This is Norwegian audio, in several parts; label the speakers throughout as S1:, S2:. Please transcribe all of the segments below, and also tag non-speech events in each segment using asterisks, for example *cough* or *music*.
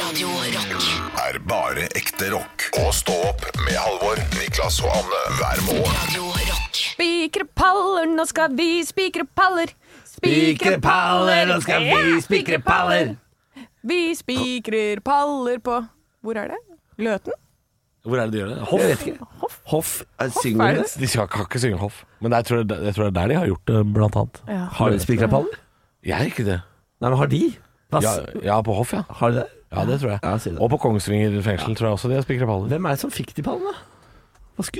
S1: Radio Rock.
S2: er bare ekte rock. Og stå opp med Halvor, Niklas og Anne hver morgen.
S1: Radio Rock.
S3: Spikre paller, nå skal vi spikre paller.
S4: Spikre paller, nå skal vi spikre paller.
S3: Vi spikrer paller på Hvor er det? Løten?
S5: Hvor er det de gjør det? Hoff?
S4: Jeg vet ikke.
S3: Hoff?
S5: Hoff?
S4: Er synger
S3: er
S4: du
S3: det?
S4: det?
S5: De skal, kan ikke synge hoff. Men jeg tror, det, jeg tror det er der de har gjort det, blant annet.
S3: Ja.
S4: Har de spikra paller?
S5: Jeg er ikke det.
S4: Nei, men har de? Pass.
S5: Ja, ja, på hoff, ja.
S4: Har de det?
S5: Ja, det tror jeg.
S4: Ja, si det.
S5: Og på Kongsvinger fengsel tror jeg også de har spikra paller.
S4: Hvem er det som fikk de pallene? Hva sku...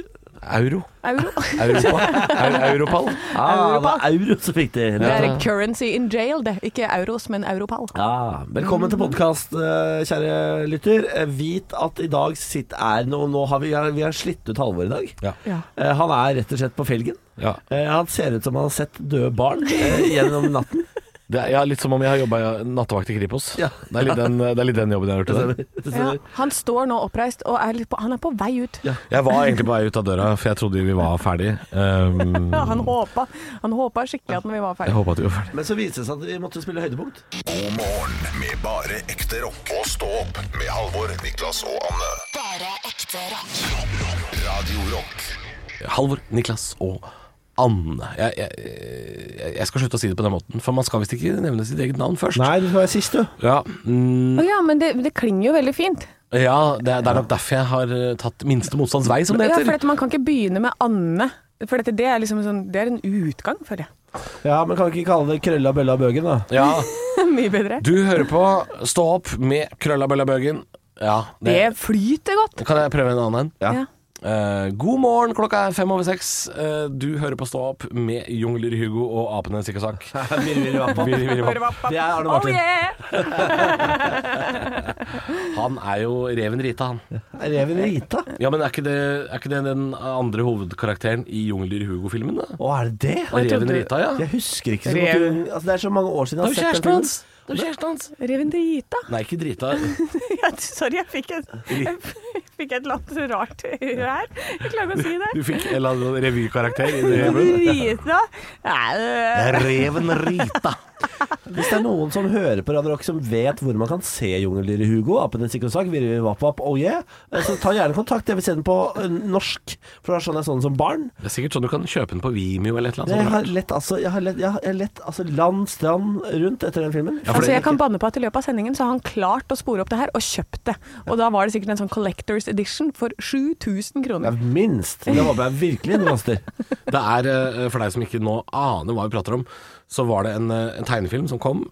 S5: Euro.
S3: Euro?
S5: Europa. Eu- Europall.
S4: Ah, det var
S3: Europall.
S4: euro som fikk de.
S3: Det er
S4: *laughs* Ja.
S3: currency in jail, det. Ikke euros, men europall.
S4: Ja, velkommen til podkast, kjære lytter. Eh, Vit at i dag sitt er noe Nå har vi, vi har slitt ut Halvor i dag.
S5: Ja.
S3: Ja.
S4: Eh, Han er rett og slett på felgen.
S5: Ja.
S4: Eh, Han ser ut som han har sett døde barn eh, gjennom natten.
S5: Det er, ja, litt som om jeg har jobba nattevakt i Kripos.
S4: Ja.
S5: Det, er litt den, det er litt den jobben jeg har gjort. i dag.
S3: Ja, han står nå oppreist, og er litt på, han er på vei ut.
S4: Altså, Ja.
S5: Jeg var egentlig på vei ut av døra, for jeg trodde vi var ferdig. Um,
S3: Ja, *laughs* han, håpa, han håpa skikkelig at vi var
S5: jeg
S3: ferdig.
S5: håpa at vi var ferdig.
S4: Men så viste det seg at vi måtte spille høydepunkt.
S2: God morgen med bare ekte rock. Og stå opp med Halvor, Niklas og Anne.
S1: Bare ekte rock.
S2: Radio Rock
S5: Halvor, Niklas og Anne. Jeg, jeg, jeg- jeg skal slutte å si det på den måten, for man skal visst ikke nevne sitt eget navn først.
S4: Nei, du skal være sist, du.
S5: Ja, mm,
S3: Å ja, men det, det klinger jo veldig fint.
S5: ja det, er- det er nok derfor jeg har eh, tatt minste motstands vei, som det
S3: Ja, for
S5: heter.
S3: dette, Man kan ikke begynne med Anne. For dette, det, er liksom sånn, det er en utgang, føler jeg.
S4: Ja, men kan vi ikke kalle det krølla bølla bøgen, *laughs* da?
S5: Ja,
S3: *laughs* Mye bedre.
S5: du hører på Stå opp med Krølla Bølla Bøgen. Ja,
S3: Det
S5: det,
S3: flyter godt.
S5: kan jeg prøve en annen en?
S4: Ja.
S3: Ja.
S5: Eh, god morgen, klokka er fem over seks. Eh, du hører på Stå opp med Jungler-Hugo og Apene Sikkasakk. Viri, viri, vapp.
S4: Det er Arne
S3: Oh
S4: Martin.
S3: yeah!
S5: Han er jo reven Rita, han.
S4: Reven Rita.
S5: Ja, men er ikke det, er ikke det den andre hovedkarakteren i Jungler-Hugo-filmen? da?
S4: Å, er det det?
S5: Reven
S3: trodde-
S5: Rita, ja.
S4: Jeg husker ikke så godt. hun- Altså, det er så mange år siden jeg har sett den filmen.
S5: Det er jo kjæresten hans!
S3: Reven Rita.
S5: Nei, ikke Drita.
S4: *laughs*
S3: Ja, Sorry, jeg fikk et, jeg fikk et eller annet rart her. Jeg klarer ikke å si det.
S5: Du fikk en eller annen revykarakter i det.
S3: Rita. Nei, det-
S5: Reven Rita.
S4: Hvis det er noen som hører på Radio Rock som vet hvor man kan se Jungeldyret Hugo, Apen en sikkerhetssak, Virvi Vapp Vapp, oh yeah, så ta gjerne kontakt. Jeg vil se den på eh, norsk, for det var sånn jeg så den som barn.
S5: Det er sikkert sånn du kan kjøpe den på Vimeo eller et eller
S4: Jeg
S5: annet.
S4: har lett, altså, jeg har lett, jeg har jeg har lett altså, land, strand rundt etter den filmen.
S5: for det-
S3: Altså, jeg kan banne på at i løpet av sendingen så har han klart å spore opp det her, og kjøpt det. Og da var det sikkert en sånn collectors edition for 7000
S4: Ja,
S3: kroner.
S4: minst. Det håper jeg virkelig den koster.
S5: sånt. Det er, eh, for deg som ikke nå aner hva vi prater om, så var det en, eh, en tegnefilm som kom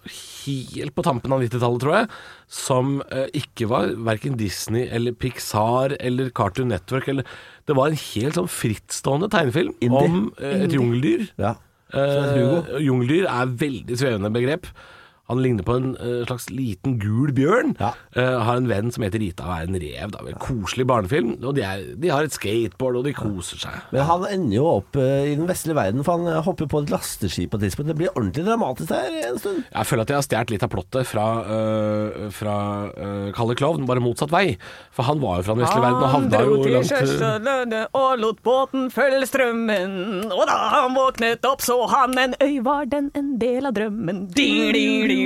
S5: helt på tampen av 90-tallet, tror jeg, som eh, ikke var verken Disney eller Pixar eller Cartoon Network eller Det var en helt sånn frittstående tegnefilm
S4: Indie.
S5: om eh, et jungeldyr.
S4: Ja.
S5: Eh,
S4: Hugo.
S5: Jungeldyr er veldig svevende begrep. Han ligner på en eh, slags liten gul bjørn.
S4: Ja.
S5: Eh, har en venn som heter Rita og er en rev. Da. En Koselig barnefilm. Og de, er, de har et skateboard, og de koser seg.
S4: Men han ender jo opp eh, i den vestlige verden, for han eh, hopper på et lasteskip på et tidspunkt. Det blir ordentlig dramatisk der en stund.
S5: Jeg føler at jeg har stjålet litt av plottet fra, eh, fra eh, Kalle Klovn, bare motsatt vei. For han var jo fra den vestlige verden og havna jo langt eh,
S3: og lot båten følge strømmen. Og da han våknet opp, så han en øy, var den en del av drømmen. Ding, ding, ding, ding, ding.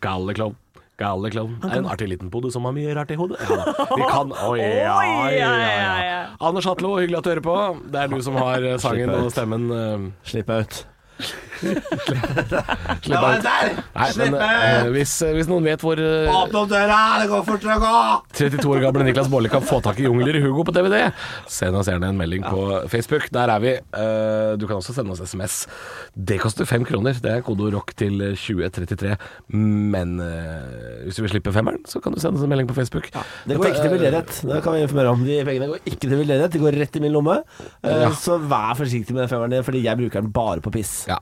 S5: Kalle Klovn. Kalle Klovn er en artig liten pode som har mye rart i hodet. Ja, da. vi *laughs* kan Oi, ja, ja, ja, ja. Anders Hatlo, hyggelig at du hører på. Det er du som har eh, sangen og stemmen. eh,
S4: Slipp meg ut.
S5: Slipp meg ut. Nei, men eh, hvis, eh, hvis noen vet hvor eh,
S4: opp døra, det går fortere å gå!
S5: 32 år gamle Niklas Baarli kan få tak i Jungler Hugo på DVD, send oss gjerne en melding på Facebook. Der er vi. Eh, Du kan også sende oss SMS. Det koster fem kroner. Det er kodeord rock til 2033. Men eh, hvis du vil slippe femmeren, så kan du sende oss en melding på Facebook.
S4: Det går ikke til veldedighet. Det kan vi informere om. De pengene går ikke til veldedighet, de går rett i min lomme. Eh,
S5: Ja.
S4: Så vær forsiktig med den femmeren din, fordi jeg bruker den bare på piss.
S5: Ja.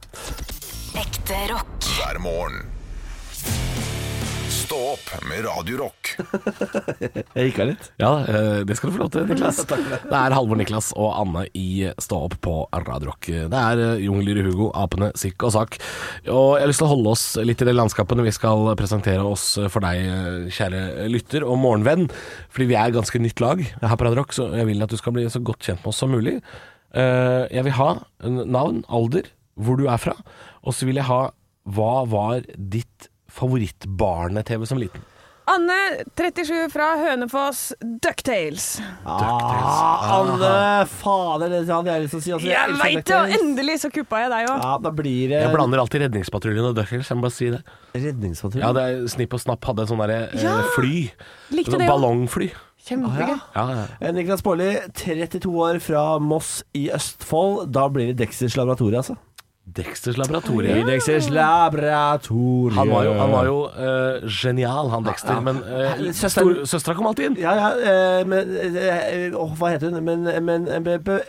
S1: Ekte rock.
S2: hver morgen. Stå opp med Radio Rock.
S4: Jeg gikk av litt.
S5: Ja, eh, det skal du få lov til, Niklas. Det er Halvor Niklas og Anne i Stå opp på Radio Rock. Det er eh, Jungler Hugo, Apene, Sikk og Sak. Og jeg har lyst til å holde oss litt i det landskapet når vi skal presentere oss for deg, eh, kjære lytter og morgenvenn. Fordi vi er ganske nytt lag her på Radio Rock, så jeg vil at du skal bli så godt kjent med oss som mulig. Eh, Jeg vil ha en navn, alder, hvor du er fra, og så vil jeg ha hva var ditt favorittbarne-TV som liten?
S3: Anne, 37, fra Hønefoss, Ducktails.
S4: Ah, Anne, fader, det hadde jeg lyst til å si. altså,
S3: Jeg
S4: elsker Ah,
S3: veit det! Og
S4: Ducktails.
S3: endelig så kuppa jeg deg òg.
S4: Ja, da blir det
S5: Jeg blander alltid Redningspatruljen og Duckers, jeg må bare si det. Ja,
S4: redningspatrulje.
S5: det er, Snipp og Snapp hadde en sånn derre eh,
S3: Ja.
S5: fly.
S3: Likte
S5: sånn
S3: det, ja.
S5: ballongfly.
S3: Kjempegøy.
S5: Ja, ja.
S4: Eh, Niklas Baarli, 32 år fra Moss i Østfold. Da blir det Dexters laboratorie, altså.
S5: Dexters laboratorium.
S4: Dexters laboratorie.
S5: Han var jo, han var jo eh, genial, han Dexter,
S4: Ja, ja.
S5: men uh,
S4: Søsteren-
S5: søstera kom alltid inn.
S4: Ja, ja, eh, men eh, Åh, hva heter hun? Men, men men- men-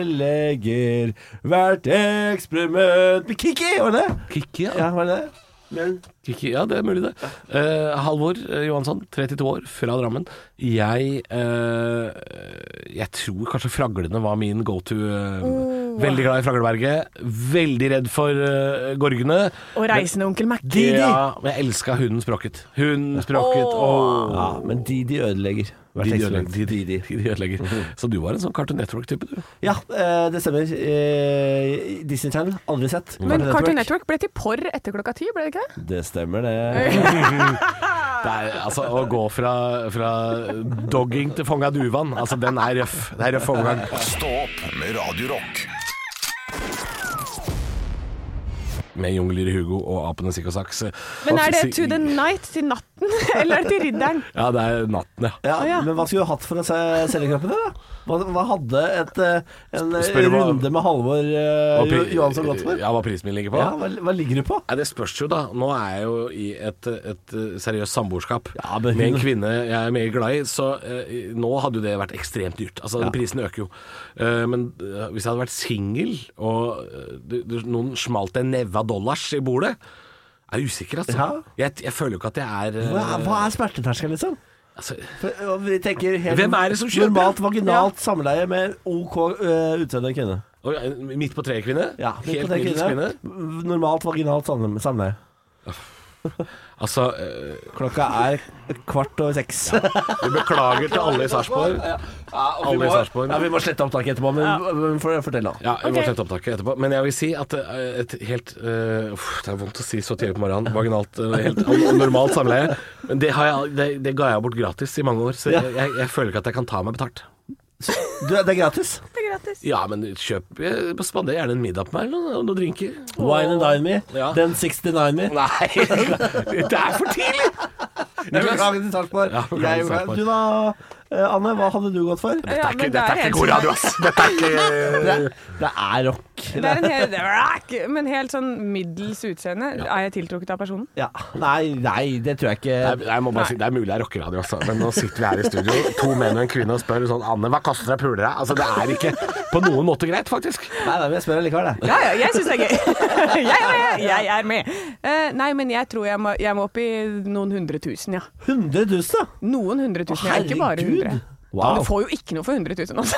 S4: ødelegger hvert eksperiment Med Kikki, var det det?
S5: Kikki, ja.
S4: Ja, var det det? Men
S5: Kikki, ja, det er mulig, det. Eh, Halvor eh, Johansson, 32 år, fra Drammen. Jeg eh, Jeg tror kanskje fraglene var min go to. eh,
S3: Oh.
S5: Veldig glad i Fragleberget. Veldig redd for eh, gorgene.
S3: Og reisende onkel Mac.
S4: Didi!
S5: Ja, men jeg elska hunden Språket. Hunden Språket og
S4: Ja, men Didi ødelegger hvert
S5: Didi
S4: eksperiment.
S5: ødelegger. Didi ødelegger. Så du var en sånn Cartoon Network-type, du.
S4: Ja, eh, det stemmer. Eh, Disney Channel, aldri sett.
S3: Men Cartoon Network ble til porr etter klokka ti, ble det ikke det?
S4: Det stemmer, det.
S5: Det er, altså, å gå fra, fra dogging til fånga duvan, altså, den er røff. Det er røff overgang.
S2: Stå opp med Radio Rock.
S5: Med jungler Hugo og apene Sikk og Saks.
S3: Men er det
S5: Og si-
S3: to the night til natten, *laughs* eller er det til ridderen?
S5: Ja, det er natten, ja.
S4: Ja,
S3: Å, ja.
S4: Men hva skulle du hatt for å se selgerkroppen din, da? Hva, hva hadde et, eh, en eh,
S5: Spør hva-
S4: runde med Halvor eh,
S5: Hva pri-
S4: Jo- Johansson gått for?
S5: Ja, hva prisen min ligger på?
S4: Ja, hva, hva ligger du på?
S5: Nei, det spørs jo, da. Nå er jeg jo i et, et eh, seriøst samboerskap
S4: Ja,
S5: med
S4: men
S5: en
S4: hun-
S5: kvinne jeg er meget glad i, så eh, nå hadde jo det vært ekstremt dyrt. Altså, Prisen øker jo. Eh, men eh, hvis jeg hadde vært singel, og eh, du, du, noen smalt en neve av dollars i bordet jeg er usikker, altså.
S4: Ja.
S5: Jeg, jeg føler jo ikke at jeg er eh,
S4: Hva, hva er smerteterskelen, liksom?
S5: altså,
S4: For, og vi tenker helt
S5: Hvem er det som kjøper?
S4: Normalt vaginalt samleie med OK uh, utseende kvinne.
S5: Oi, Midt på treet kvinne?
S4: Ja, vi
S5: Helt
S4: kan tenke
S5: middels kvinne?
S4: det. Normalt vaginalt sam- samleie.
S5: Altså, eh,
S4: Klokka er kvart over seks.
S5: vi beklager til alle i Sarpsborg.
S4: og
S5: Alle i Sarpsborg.
S4: ja, vi må slette opptaket etterpå, men men for- fortell, da.
S5: Ja, vi må
S3: Ok.
S5: slette opptaket etterpå. Men jeg vil si at eh, et helt eh, uff, Det er vondt å si så tidlig på morgenen. Vaginalt eh, helt an- normalt samleie. Men det, har jeg, det, det ga jeg bort gratis i mange år, så
S4: Ja.
S5: jeg, jeg, jeg føler ikke at jeg kan ta meg betalt.
S4: Du, det er gratis.
S3: Det er gratis.
S5: Ja, men kjøp eh, Spander gjerne en middag på meg eller noe, og noen drinker.
S4: Wine and dine me.
S5: Ja.
S4: Den 69 me.
S5: Nei, det er for tidlig!
S4: Jeg beklager til Sarpsborg.
S5: Ja, beklager
S4: Jeg-
S5: til Sarpsborg.
S4: Du da, eh, Anne, hva hadde du gått for?
S5: Dette
S3: Ja,
S5: er ikke,
S3: men det
S5: dette
S3: er
S5: er
S3: helt sånn-
S5: ikke god radio, ass. Dette er ikke
S4: Det, det er rock.
S3: Det er en hel, det er ikke- men helt sånn middels utseende. Er jeg tiltrukket av personen?
S4: Ja. Nei, nei, det tror jeg ikke.
S5: Nei, jeg må bare si, Det er mulig det er rockeradio, altså, men nå sitter vi her i studio, to menn og en kvinne, og spør sånn Anne, hva koster det å pule deg? Altså, det er ikke på noen måte greit, faktisk.
S4: Nei, nei, men jeg spør likevel, jeg.
S3: Ja, ja, jeg syns det er gøy. *laughs* Jeg er med! Jeg er med. Eh, nei, men jeg tror jeg må, jeg må opp i noen hundre tusen, ja.
S4: 100 000, da?
S3: Noen hundre tusen, ja. Ikke bare
S4: Herregud.
S3: hundre.
S4: Wow.
S3: Du får jo ikke noe for hundre tusen, altså.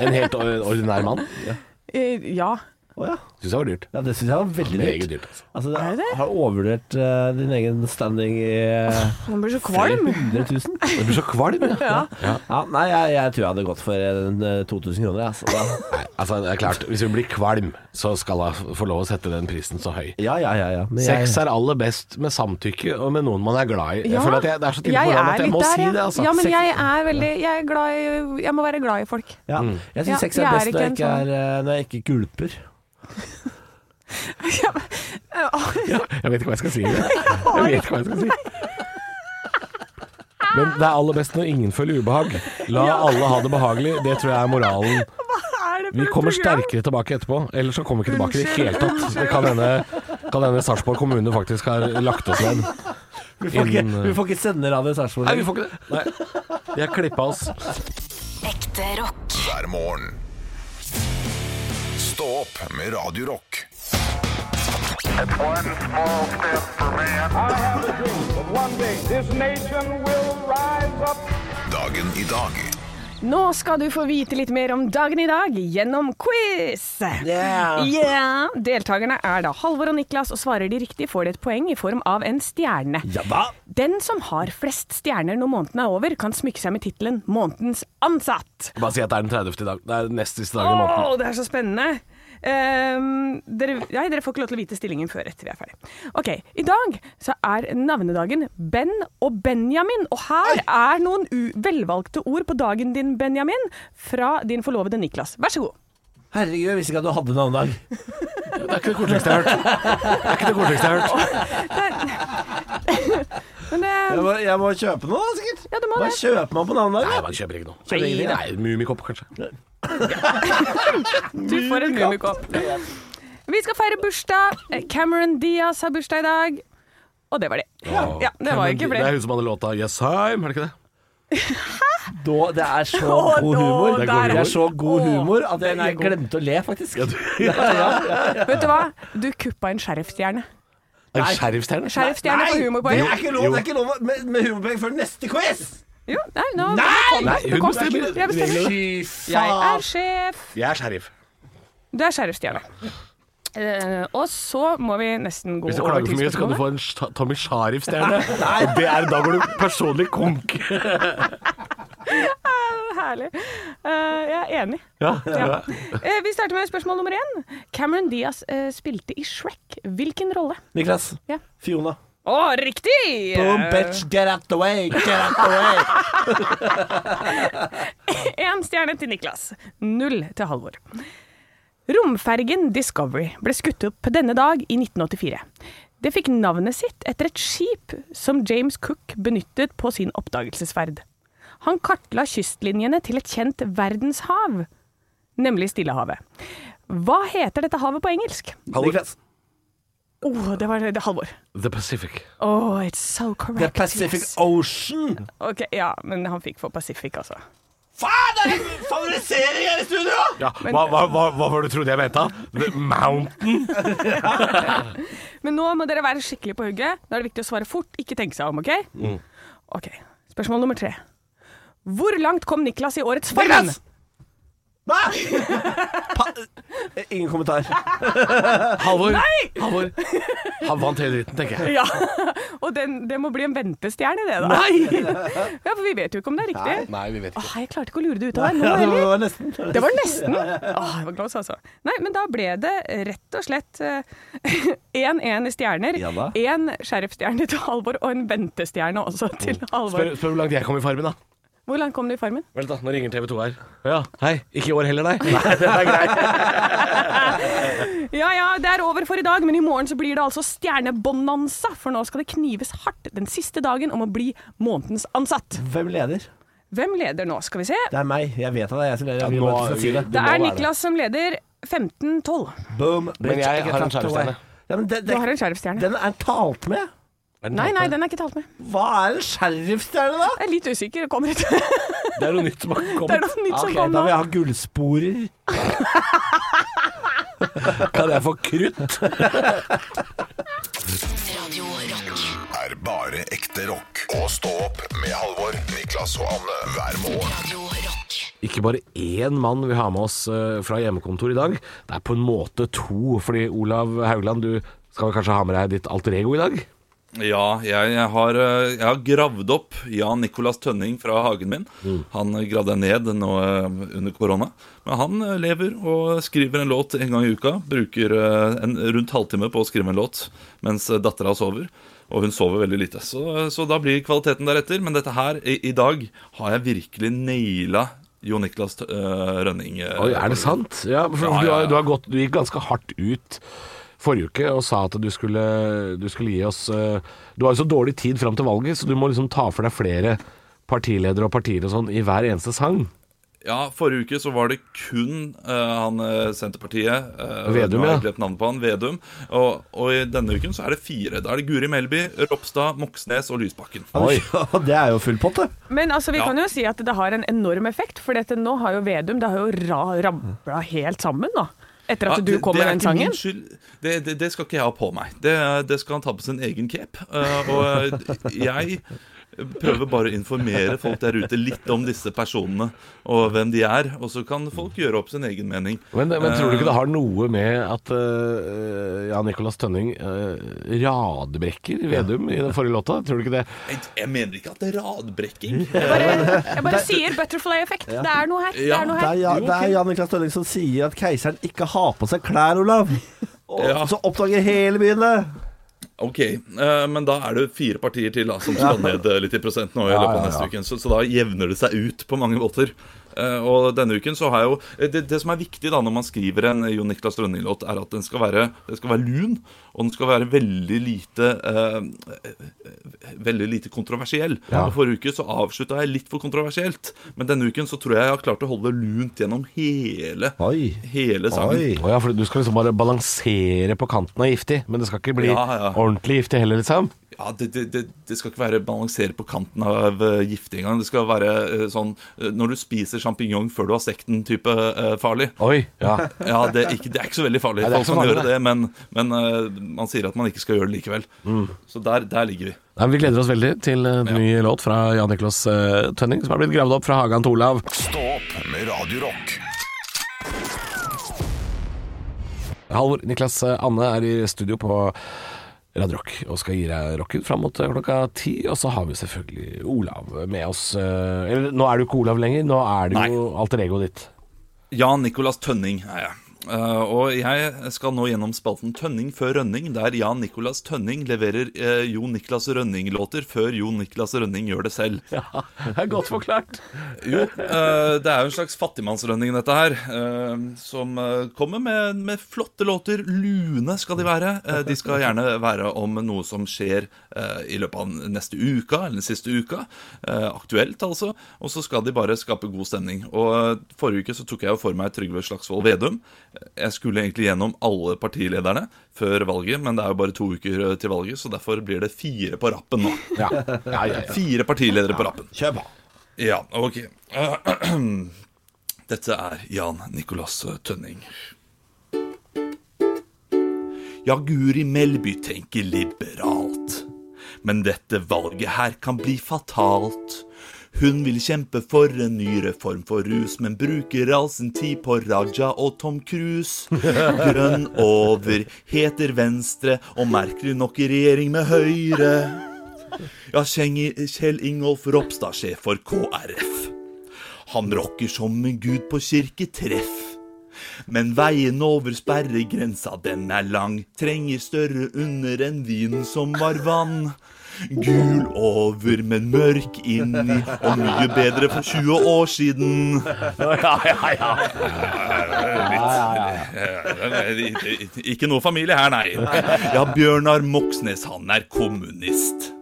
S5: En helt or- ordinær mann.
S3: *laughs* Eh, ja.
S4: Å, ja.
S5: Syns jeg var dyrt.
S4: ja, det syns jeg var veldig
S5: Meget
S4: dyrt.
S5: dyrt. Altså.
S4: Altså, det
S3: Er det det?
S4: Har overvurdert eh, din egen standing i eh,
S3: Man blir så kvalm.
S4: 100 000.
S5: Jeg blir så kvalm, jeg.
S3: Ja.
S4: Ja, nei, jeg, jeg tror jeg hadde gått for en, eh, 2000 kroner. jeg, Altså. Da-
S5: Nei, altså, det er klart, hvis vi blir kvalm, så skal hun få lov å sette den prisen så høy.
S4: Ja, ja, ja. ja. Men jeg-
S5: Sex er aller best med samtykke og med noen man er glad i. Jeg
S3: Ja.
S5: føler at jeg, Det er så tidlig
S3: Jeg
S5: på morgenen
S3: er
S5: at jeg
S3: litt
S5: må
S3: der,
S5: si
S3: ja.
S5: det, altså.
S3: Ja, men
S5: Sex-
S3: jeg er veldig Jeg er glad i Jeg må være glad i folk. *laughs*
S4: Ja. Jeg syns
S3: Ja,
S4: sex er
S3: jeg er
S4: best
S3: ikke
S4: når jeg
S3: en sånn-
S4: ikke er, eh, når jeg ikke gulper.
S3: *laughs*
S5: Ja, jeg vet ikke hva jeg skal si. Jeg vet ikke hva jeg skal si. Men det er aller best når ingen føler ubehag. La alle ha det behagelig. Det tror jeg er moralen.
S3: Hva er det
S5: Vi kommer sterkere tilbake etterpå. Ellers så kommer vi ikke tilbake i det hele tatt. Det kan hende, kan hende Sarpsborg kommune faktisk har lagt oss ned.
S4: Vi får ikke,
S5: Innen, eh,
S4: vi får ikke sende Radio Sarpsborg.
S5: Nei, vi får ikke det. Nei. De har klippa oss.
S1: Ekte rock.
S2: hver morgen. Stå opp med Radio Rock.
S6: One small step for man. I have a dream that one day this nation will rise up.
S2: Dagen i dag.
S3: Nå skal du få vite litt mer om dagen i dag gjennom quiz.
S4: Yeah.
S3: Yeah. Deltakerne er da Halvor og Niklas, og svarer de riktig, får de et poeng i form av en stjerne.
S4: Ja da.
S3: Den som har flest stjerner når måneden er over, kan smykke seg med tittelen 'Månedens ansatt'.
S5: Bare si at det er den 30. i dag. Det er den nest siste
S3: Å,
S5: dagen i måneden.
S3: det er så spennende! Ehm, dere, nei, dere får ikke lov til å vite stillingen før etter vi er ferdig. Ok, I dag så er navnedagen Ben og Benjamin. Og her er noen u velvalgte ord på dagen din, Benjamin, fra din forlovede Niklas. Vær så god.
S4: Herregud, jeg visste ikke at du hadde en annen dag.
S5: Det er ikke det koseligste jeg har hørt. Det er ikke det koseligste jeg har hørt.
S3: Men eh, det,
S4: Jeg må, jeg må kjøpe noe, da, sikkert.
S3: Ja, du må
S4: Hva
S3: det.
S4: kjøper man på en annen dag?
S5: Nei,
S4: da?
S5: man kjøper ikke noe.
S4: Kjøper ingenting, da.
S5: Nei, Mummikopp, kanskje.
S3: du får en mummikopp. Vi skal feire bursdag. Eh, Cameron Diaz har bursdag i dag. Og det var det. Ja, det var ikke
S5: Det
S3: flere.
S5: er hun som hadde låta Yes Heim, er det ikke det?
S4: Da- Det er så
S3: Å,
S4: god
S3: da,
S4: humor.
S5: der.
S4: Det er så god
S3: Å,
S4: humor at jeg,
S3: den er
S4: jeg
S3: god.
S4: glemte å le, faktisk.
S3: Vet du hva? Du kuppa en sheriffstjerne.
S5: En sheriffstjerne?
S3: Sheriffstjerne på
S4: det
S3: humorpoeng.
S4: er ikke lov, det er ikke lov med, med humorpoeng før neste quiz!
S3: Jo, nei, nå,
S4: Nei!
S3: det kom,
S5: Nei,
S3: det
S5: hun
S3: kom.
S5: bestemmer.
S3: Jeg bestemmer.
S4: Fy
S3: Jeg
S4: faen!
S3: er sjef.
S5: Jeg er sheriff.
S3: Du er sheriffstjerne. Eh, og så må vi nesten gå
S5: Hvis du
S3: over
S5: klager
S3: til
S5: for mye, så kan du
S3: spørsmålet.
S5: få en sh- Tommy Sharif-stjerne. Og det er da går du personlig konk.
S3: *laughs* Herlig. Eh, jeg er enig.
S5: Ja,
S3: Ja. Eh, vi starter med spørsmål nummer én. Cameron Diaz eh, spilte i Shrek. Hvilken rolle?
S4: Niklas.
S3: Ja.
S4: Fiona.
S3: Å, riktig!
S4: Boom, bitch, get out the way, get out the way.
S3: Én stjerne til Niklas. Null til Halvor. Romfergen Discovery ble skutt opp denne dag i 1984. Det fikk navnet sitt etter et skip som James Cook benyttet på sin oppdagelsesferd. Han kartla kystlinjene til et kjent verdenshav, nemlig Stillehavet. Hva heter dette havet på engelsk?
S4: Niklas.
S3: Å, det var det, det Halvor.
S5: The Pacific.
S3: Oh, it's so correct.
S4: The Pacific
S3: Yes.
S4: Ocean.
S3: Ok, Ja, men han fikk for Pacific, altså.
S4: Faen, det er favorisering her i studio!
S5: Ja, hva, hva, hva, hva var det du trodde jeg mente? The Mountain.
S3: Men nå må dere være skikkelig på hugget. Da er det viktig å svare fort, ikke tenke seg om, OK? Ok, Spørsmål nummer tre. Hvor langt kom Niklas i årets form?
S4: Niklas! Hva? Pa eh, Ingen kommentar.
S5: Halvor. Halvor. Han vant hele dritten, tenker jeg.
S3: *laughs* Ja, Og den, det må bli en ventestjerne, det, da. *laughs* Ja, For vi vet jo ikke om det er riktig.
S5: Nei, vi vet ikke.
S3: Åh, jeg klarte ikke å lure det ut av deg nå
S4: Ja, det
S3: heller.
S4: var nesten.
S3: Det var nesten. Åh, jeg var glad, altså. Nei, men da ble det rett og slett eh, *laughs* 1-1 i stjerner.
S4: Ja da.
S3: Én sheriffstjerne til Halvor, og en ventestjerne også til
S5: Spør,
S3: Halvor.
S5: spør hvor langt jeg kom i Farmen, da.
S3: Hvor langt kom du i Farmen?
S5: Vent, da. Nå ringer TV 2 her. Ja, Hei. Ikke i år heller, nei? Nei, det er greit.
S3: Ja, ja, det er over for i dag, men i morgen så blir det altså stjernebonanza. For nå skal det knives hardt den siste dagen om å bli månedens ansatt.
S4: Hvem leder?
S3: Hvem leder nå, skal vi se.
S4: Det er meg. Jeg vet at det er jeg som leder. Jeg vil
S5: nå
S4: bare at du skal si
S5: er vi-
S4: det.
S3: Det
S5: må
S3: er
S5: være
S3: Niklas som leder 15-12.
S4: Boom, bitch,
S5: jeg
S4: get
S5: har en
S4: out the way.
S5: skjærestjerne.
S4: Ja, men det,
S3: Du
S4: det,
S3: har en sheriffstjerne.
S4: den er talt med.
S3: Nei, nei, den er ikke talt med.
S4: Hva er en sheriffstjerne, da?
S3: Jeg er litt usikker. det Kommer ut. Det
S5: Det er noe nytt som har
S3: er
S5: kommet.
S3: noe nytt som
S4: Ok,
S3: kom
S4: da
S3: nå.
S4: vil jeg ha gullsporer.
S5: *laughs* Kan jeg få krutt?
S1: Radio Rock.
S2: er bare ekte rock. Og stå opp med Halvor, Niklas og Anne hver morgen.
S1: Radio Rock.
S5: Ikke bare én mann vi har med oss eh, fra hjemmekontor i dag. Det er på en måte to, fordi Olav Haugland, du skal vel kanskje ha med deg ditt alter ego i dag?
S7: Ja, jeg, jeg, har, eh, jeg har gravd opp Jan Nicolas Tønning fra hagen min.
S5: Mm.
S7: Han eh, gravde jeg ned nå eh, under korona. Men han eh, lever og skriver en låt en gang i uka. Bruker eh, en rundt halvtime på å skrive en låt mens eh, dattera sover. Og hun sover veldig lite. Så, så da blir kvaliteten deretter. Men dette her, i, i dag, har jeg virkelig naila Jo Niklas Tø- eh, Rønning. eh,
S5: Oi, er det sant? Ja, for
S7: Ja,
S5: Du,
S7: ja,
S5: har,
S7: ja.
S5: du, har gått, du gikk ganske hardt ut forrige uke og sa at du skulle, du skulle gi oss eh, Du har jo så dårlig tid fram til valget, så du må liksom ta for deg flere partiledere og partier og sånn i hver eneste sang.
S7: Ja, forrige uke så var det kun eh, han eh, Senterpartiet eh,
S5: Vedum,
S7: nå har jeg
S5: ja.
S7: glemt navnet på han, Vedum. Og, og i denne uken så er det fire. Da er det Guri Melby, Ropstad, Moxnes og Lysbakken.
S5: Oi.
S4: det er jo full pott, det.
S3: *laughs* Men altså, vi
S7: Ja.
S3: kan jo si at det har en enorm effekt, for dette nå har jo Vedum det har jo ra- rabla helt sammen, da. Etter at
S7: Ja,
S3: du
S7: det-
S3: kom
S7: det
S3: med
S7: er
S3: den
S7: ikke min
S3: sangen.
S7: skyld. Det, det, det skal ikke jeg ha på meg. Det, det skal han ta på sin egen cape. Eh, og eh, jeg prøver bare å informere folk der ute litt om disse personene og hvem de er. Og så kan folk gjøre opp sin egen mening.
S5: Men, men tror du ikke det har noe med at eh, Jan Nicolas Tønning eh, radbrekker Vedum i den forrige låta? Tror du ikke det?
S7: Jeg, jeg mener ikke at det er radbrekking. *laughs*
S3: Bare, jeg bare sier butterfly-effekt. Det er noe her. Det
S7: Ja.
S3: er noe
S4: Det
S3: her.
S4: er, ja, det er Jan Niklas Tønning som sier at keiseren ikke ha på seg klær, Olav. Og
S7: Ja.
S4: så oppdager hele byen det.
S7: Ok, eh, men da er det fire partier til da, som skal ned eh, litt i prosent nå i
S4: Ja,
S7: løpet av
S4: ja,
S7: neste
S4: ja.
S7: uken. Så, så da jevner det seg ut på mange måter. Eh, og denne uken så har jeg jo eh, det, det som er viktig da når man skriver en Jon Niklas Rønning-låt, er at den skal være, den skal være lun, og den skal være veldig lite eh, veldig lite kontroversiell. Og Forrige uke så avslutta jeg litt for kontroversielt, men denne uken så tror jeg jeg har klart å holde det lunt gjennom hele,
S4: Oi.
S7: hele sangen.
S4: Oi.
S5: Å ja, for du skal liksom bare balansere på kanten av giftig, men det skal ikke bli
S7: Ja, ja.
S5: ordentlig giftig heller, liksom?
S7: Ja, det, det, det, det skal ikke være balansere på kanten av eh, giftig engang. Det skal være eh, sånn eh, når du spiser sjampinjong før du har stekt den, type eh, farlig.
S5: Oi,
S7: *laughs*
S5: ja.
S7: Ja, det er, ikke, det er ikke så veldig
S5: *laughs*
S7: farlig.
S5: Nei, Mm. det er
S7: Folk
S5: ikke så
S7: kan
S5: farlig,
S7: gjøre det, men, men eh, man sier at man ikke skal gjøre det likevel. Så der, der ligger vi.
S5: Nei, men vi gleder oss veldig til en ny låt fra Jan Niklas eh, Tønning, som er blitt gravd opp fra Hagan til Olav.
S2: Stå opp med Radio Rock.
S5: Halvor Niklas eh, Anne er i studio på Radio Rock og skal gi deg rocken fram mot eh, klokka ti. Og så har vi selvfølgelig Olav med oss. eh, Eller nå er du ikke Olav lenger, nå er det jo alter egoet ditt.
S7: Jan Nicolas Tønning er jeg. Eh, og jeg skal nå gjennom spalten Tønning før Rønning, der Jan Nicolas Tønning leverer eh, Jon Niklas Rønning-låter før Jon Niklas Rønning gjør det selv.
S5: Ja, det er godt forklart.
S7: Jo, eh, det er jo en slags fattigmannsrønning dette her, eh, som eh, kommer med, med flotte låter. Lune skal de være. Eh, de skal gjerne være om noe som skjer eh, i løpet av neste uka, eller den siste uka. Eh, aktuelt, altså. Og så skal de bare skape god stemning. Og eh, forrige uke så tok jeg jo for meg Trygve Slagsvold Vedum. Jeg skulle egentlig gjennom alle partilederne før valget, men det er jo bare to uker eh, til valget, så derfor blir det fire på rappen nå.
S5: Ja, ja, ja,
S7: *laughs*
S5: ja.
S7: Fire partiledere på rappen.
S4: Kjør på.
S7: Ja, ok. *clears throat* Dette er Jan Nicolas Tønning. Ja, Guri Melby tenker liberalt. Men dette valget her kan bli fatalt. Hun vil kjempe for en ny reform for rus, men bruker all sin tid på Raja og Tom Cruise. Grønn over heter Venstre, og merkelig nok i regjering med Høyre. Ja, Kjeng- Kjell Ingolf Ropstad, sjef for KrF. Han rocker som en gud på kirketreff. Men veien over sperregrensa, den er lang. Trenger større under enn vinen som var vann. Gul over, men mørk inni, og mye bedre for 20 år siden. Ik- Ikke noe familie her, nei. Ja, Bjørnar Moxnes, han er kommunist.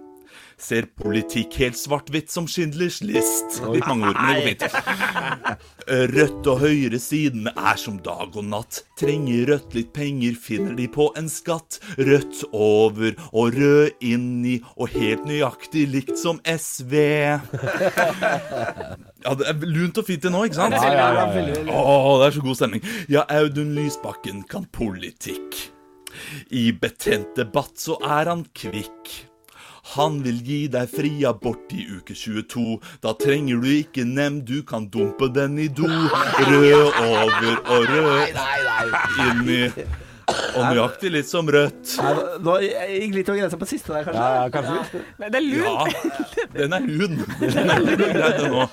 S7: Ser politikk helt svart-hvitt som Schindlers list. Litt mange ord, men det går fint.
S5: *laughs*
S7: Rødt og høyresiden er som dag og natt. Trenger Rødt litt penger, finner de på en skatt. Rødt over og rød inni, og helt nøyaktig likt som
S5: *laughs*
S7: SV. Ja, det er lunt og fint til nå, ikke sant?
S5: Ja, ja, ja, ja.
S7: Åh, det er så god stemning. Ja, Audun Lysbakken kan politikk. I betent debatt så er han kvikk. Han vil gi deg fri abort i uke 22. Da trenger du ikke nemnd, du kan dumpe den i do. Rød over og rød inni. Og nøyaktig litt som rødt.
S4: Nei, nå jeg gikk litt over grensa på siste der, kanskje.
S5: Ja, kanskje litt.
S3: Nei, det er lunt.
S7: Ja, den er hun. Den er hun greide nå.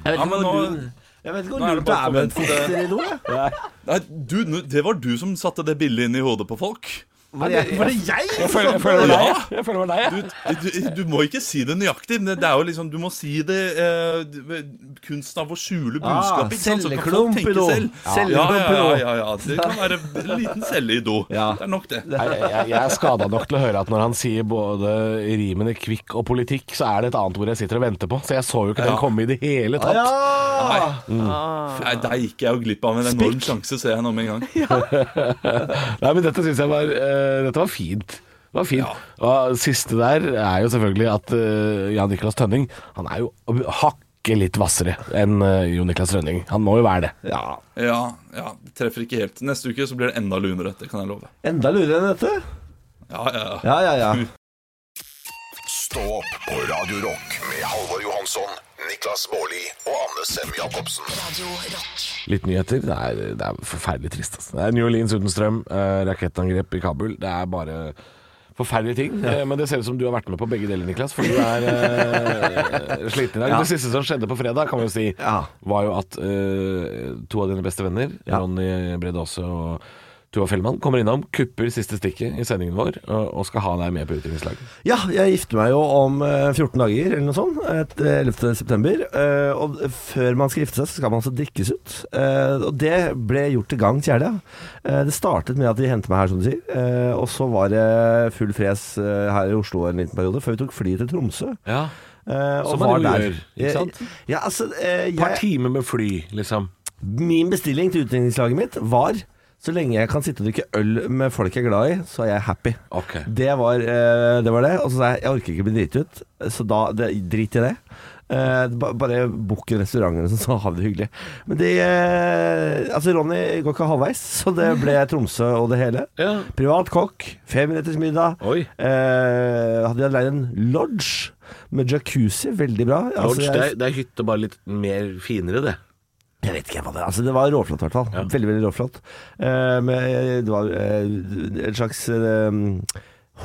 S4: Jeg vet
S7: Ja,
S4: ikke
S7: men
S4: hvor
S7: nå-
S4: lun- jeg vet ikke
S7: nå
S4: hvor
S7: er det
S4: lurt det
S7: bare
S4: er med et
S7: forventet-
S4: foster i do. jeg.
S7: Nei, du, nå- det var du som satte det bildet inn i hodet på folk.
S4: Var det jeg? Var det jeg?
S5: Jeg føler jeg føler det var deg. Jeg føler det var deg, jeg.
S7: du, du, du må ikke si det nøyaktig, men det er jo liksom, du må si det eh, d- kunsten av å skjule budskapet. ikke sant? Så kan
S4: celleklump Ah,
S7: folk
S4: i
S7: tenke
S4: do.
S7: selv.
S4: Ja.
S7: Ja,
S4: Celleklump i do.
S7: ja, ja, ja, ja. Det kan være en liten celle i do.
S4: Ja.
S7: Det er nok det.
S5: Nei, Jeg, jeg, jeg er skada nok til å høre at når han sier både i rimene kvikk og politikk, så er det et annet ord jeg sitter og venter på. Så jeg så jo ikke den
S7: Ja.
S5: komme i det hele tatt.
S4: Ja!
S7: Nei, Der gikk jeg jo glipp av en enorm sjanse, ser jeg nå med en gang.
S5: Nei, men dette synes jeg var eh, Dette var fint. Det var fint. Og siste der er jo selvfølgelig at eh, Jan Niklas Tønning Han er jo hakket litt hvassere enn uh, Jon Niklas Rønning. Han må jo være det.
S4: ja.
S7: Ja, ja, Treffer ikke helt. Neste uke så blir det enda lunere. Det kan jeg love.
S4: Enda lurere enn dette.
S7: Ja, ja, ja.
S4: Ja, ja, ja.
S5: *laughs*
S2: Stå opp på Radio Rock med Halvor Johansson, Niklas Baarli og Anne Sem Jacobsen.
S1: Radio Rock.
S5: Litt nyheter. Det er, det er forferdelig trist. Altså. Det er New Orleans uten strøm, eh, rakettangrep i Kabul. Det er bare Forferdelige ting. Eh, Men det ser ut som du har vært med på begge deler, Niklas. For du er *laughs* eh, sliten i dag.
S4: Ja.
S5: Det siste som skjedde på fredag, kan vi jo si,
S4: Ja.
S5: var jo at eh, to av dine beste venner,
S4: Ja.
S5: Ronny Brede Aase og Tuva Fellmann, kommer innom, kupper siste stikket i sendingen vår og, og skal ha deg med på utviklingslaget.
S4: Ja, jeg gifter meg jo om eh, 14 dager eller noe sånt. et- eh, 11. september. eh, Og før man skal gifte seg, så skal man altså drikkes ut. Eh, Og det ble gjort til gang kjære. Eh, Det startet med at de hentet meg her, som du sier. eh, Og så var det full fres eh, her i Oslo en liten periode, før vi tok fly til Tromsø.
S5: Ja.
S4: eh, og
S5: Som man jo
S4: var
S5: gjør, ikke sant?
S4: Eh, Ja, altså eh,
S5: Et par
S4: jeg,
S5: timer med fly, liksom.
S4: Min bestilling til utdanningslaget mitt var så lenge jeg kan sitte og drikke øl med folk jeg er glad i, så er jeg happy.
S5: Ok.
S4: Det var, eh, det var det. Og så sa jeg jeg orker ikke bli driti ut, så da det, drit i det. Eh, ba- bare bukk en restaurant eller noe sånt, så *laughs* har vi det hyggelig. Men det eh, Altså, Ronny går ikke halvveis, så det ble Tromsø og det hele.
S5: Ja.
S4: Privat kokk, femretters middag.
S5: Oi.
S4: Eh, hadde jeg leid en lodge med jacuzzi, veldig bra. Altså,
S5: Lodge,
S4: jeg-
S5: det, er, det er hytte, bare litt mer finere, det.
S4: jeg vet ikke hva det er. Altså, det var råflott, i hvert fall. Veldig, veldig råflott. Eh, men det var eh, en slags eh,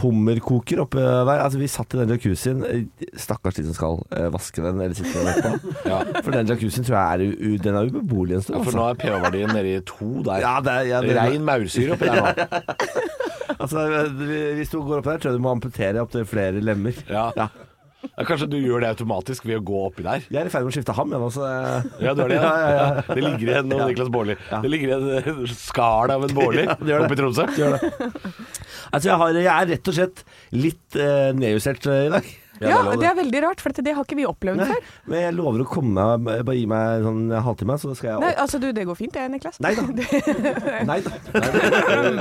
S4: hummerkoker oppe der. Altså, vi satt i den jacuzzien. Eh, Stakkars de som skal eh, vaske den eller sitte den etterpå. For den jacuzzien tror jeg er, u den er ubeboelig en stund.
S5: Ja, for
S4: altså.
S5: nå er pH-verdien nede i to der.
S4: Ja, det er, ja, det
S5: Rein maursyre oppi der nå.
S4: Altså, vi- hvis du går opp der, tror jeg du må amputere opptil flere lemmer.
S5: Ja. Ja, kanskje du gjør det automatisk ved å gå oppi der?
S4: Jeg er i ferd med å skifte ham, jeg nå, så jeg-
S5: Ja, du er det,
S4: *laughs*
S5: ja.
S4: Ja, ja, ja.
S5: Det ligger igjen noe Niklas Baarli. Det ligger igjen et skall av en Baarli
S4: *laughs* Ja, det gjør det.
S5: oppi Tromsø.
S4: Altså, jeg, har, jeg er rett og slett litt eh, nedjustert eh, i dag.
S3: Ja, det er veldig rart, for det har ikke vi opplevd
S4: Nei,
S3: før.
S4: men jeg lover å komme meg Bare gi meg sånn en halvtime, så skal jeg
S3: Nei,
S4: opp.
S3: altså du, det går fint *laughs* det, Niklas.
S4: Nei da. Nei da.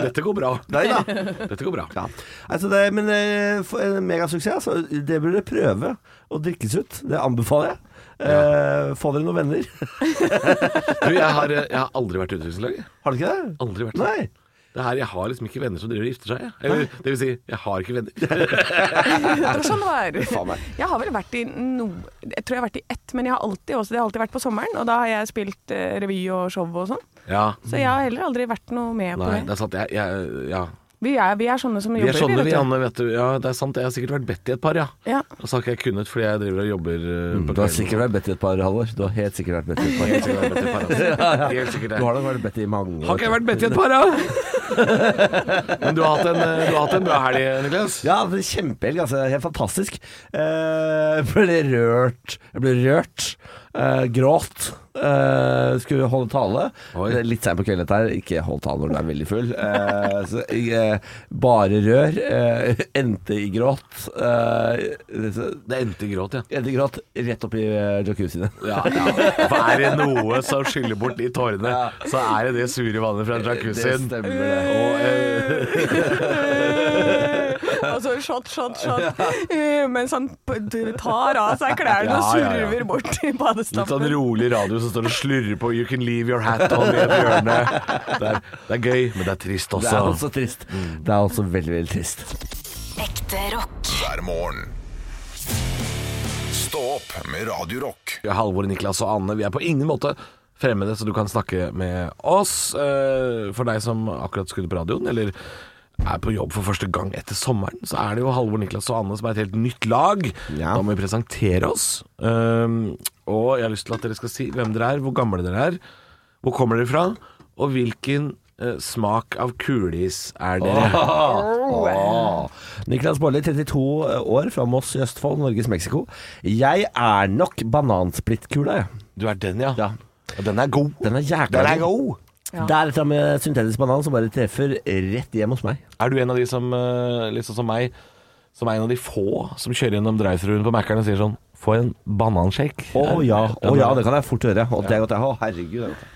S5: Dette går bra.
S4: Nei da.
S5: Dette går bra.
S4: Ja. Altså det, men eh, for en megasuksess. altså. Det burde dere prøve å drikkes ut. Det anbefaler jeg. Eh, få dere noen venner. *laughs*
S5: Du, jeg har, eh, jeg har aldri vært i utviklingslaget.
S4: Har dere ikke det?
S5: Aldri vært
S4: Nei.
S5: Det her, Jeg har liksom ikke venner som driver og gifter seg. jeg. Eller, det vil si, jeg har ikke venner.
S3: Det er *laughs* sånn
S5: *laughs*
S3: det
S4: Faen
S3: var.
S4: meg.
S3: Jeg har vel vært i noe Jeg tror jeg har vært i ett, men jeg har alltid også, det har alltid vært på sommeren. Og da har jeg spilt eh, revy og show og sånn.
S5: Ja.
S3: Så jeg har heller aldri vært noe med på
S5: Mm. Nei, det
S3: det.
S5: er sant. Jeg, jeg, ja.
S3: Vi er, vi er sånne som
S5: Vi
S3: jobber.
S5: er sånne,
S3: vet
S5: vi,
S3: du.
S5: Anne. Vet du. Ja, det er sant. Jeg har sikkert vært bedt i et par, ja.
S3: Ja. *laughs*
S5: Og så har ikke jeg kunnet fordi jeg driver og jobber eh, på
S4: Mm, Du har
S5: kvelden.
S4: sikkert vært bedt i et par, Halvor. Du har helt sikkert vært bedt i et par.
S5: Helt sikkert vært bedt i et par, *laughs* altså. Helt sikkert
S4: Du
S5: det.
S4: har da vært bedt i mange
S5: Har ikke jeg vært bedt i et
S4: *laughs*
S5: par, da? Men du har hatt en, eh, du har hatt en bra helg, Niklas.
S4: Ja, det er kjempehelg. Altså, helt fantastisk. Eh, jeg ble rørt. Jeg ble rørt. Eh, gråt. Eh, skulle holde tale.
S5: Oi.
S4: Det er Litt seint på kvelden dette her. Ikke hold tale når du er veldig full. Eh, så jeg, eh, bare rør. Eh, endte i gråt. Eh, det-
S5: Det endte i gråt, ja.
S4: endte i gråt rett opp i eh, jacuzzien.
S5: Ja, For er det noe som skyller bort de tårene, så er det det sure vannet
S4: *laughs*
S5: fra
S4: Det
S5: jacuzzien.
S4: stemmer, det.
S5: Og, eh,
S3: Og så Altså, shot, shot,
S5: *laughs*
S3: shot. Eh, Mens han p- d- tar av seg klærne og
S5: Ja, ja, ja.
S3: surver bort i
S5: litt sånn
S3: badestampen.
S5: rolig radio som står og slurrer på 'You can leave your hat on' i et hjørne.
S4: *laughs*
S5: Det er, det er gøy, men det er trist
S4: Det er altså
S5: også. Mm.
S4: også trist. Det er også veldig, veldig trist.
S1: Ekte rock.
S2: hver morgen. Stå opp med Radio Rock.
S5: Halvor, Niklas og Anne, vi er på ingen måte fremmede, så du kan snakke med oss. Eh, For deg som akkurat skrudde på radioen, eller er på jobb for første gang etter sommeren, så er det jo Halvor, Niklas og Anne som er et helt nytt lag.
S4: Ja.
S5: Da må vi presentere oss. Um, og jeg har lyst til at dere skal si hvem dere er, hvor gamle dere er, hvor kommer dere fra, og hvilken eh, smak av kuleis er dere.
S4: Åh. Niklas Baarli, 32 år, fra Moss i Østfold, Norges Mexico. Jeg er nok banansplittkula, jeg.
S5: Du er den, ja.
S4: Ja.
S5: Ja, Den er god.
S4: Den er jækla
S5: Den er
S3: Ja.
S4: Det er et eller annet med syntetisk banan som bare treffer rett hjem hos meg.
S5: Er du en av de som, eh, liksom som meg, som er en av de få som kjører gjennom drive-thruen på Mækkern og sier sånn Få en bananshake.
S4: Å ja,
S5: Den
S4: å ja,
S5: er-
S4: det kan jeg fort gjøre. Og det er godt, jeg. Å, herregud. det er godt.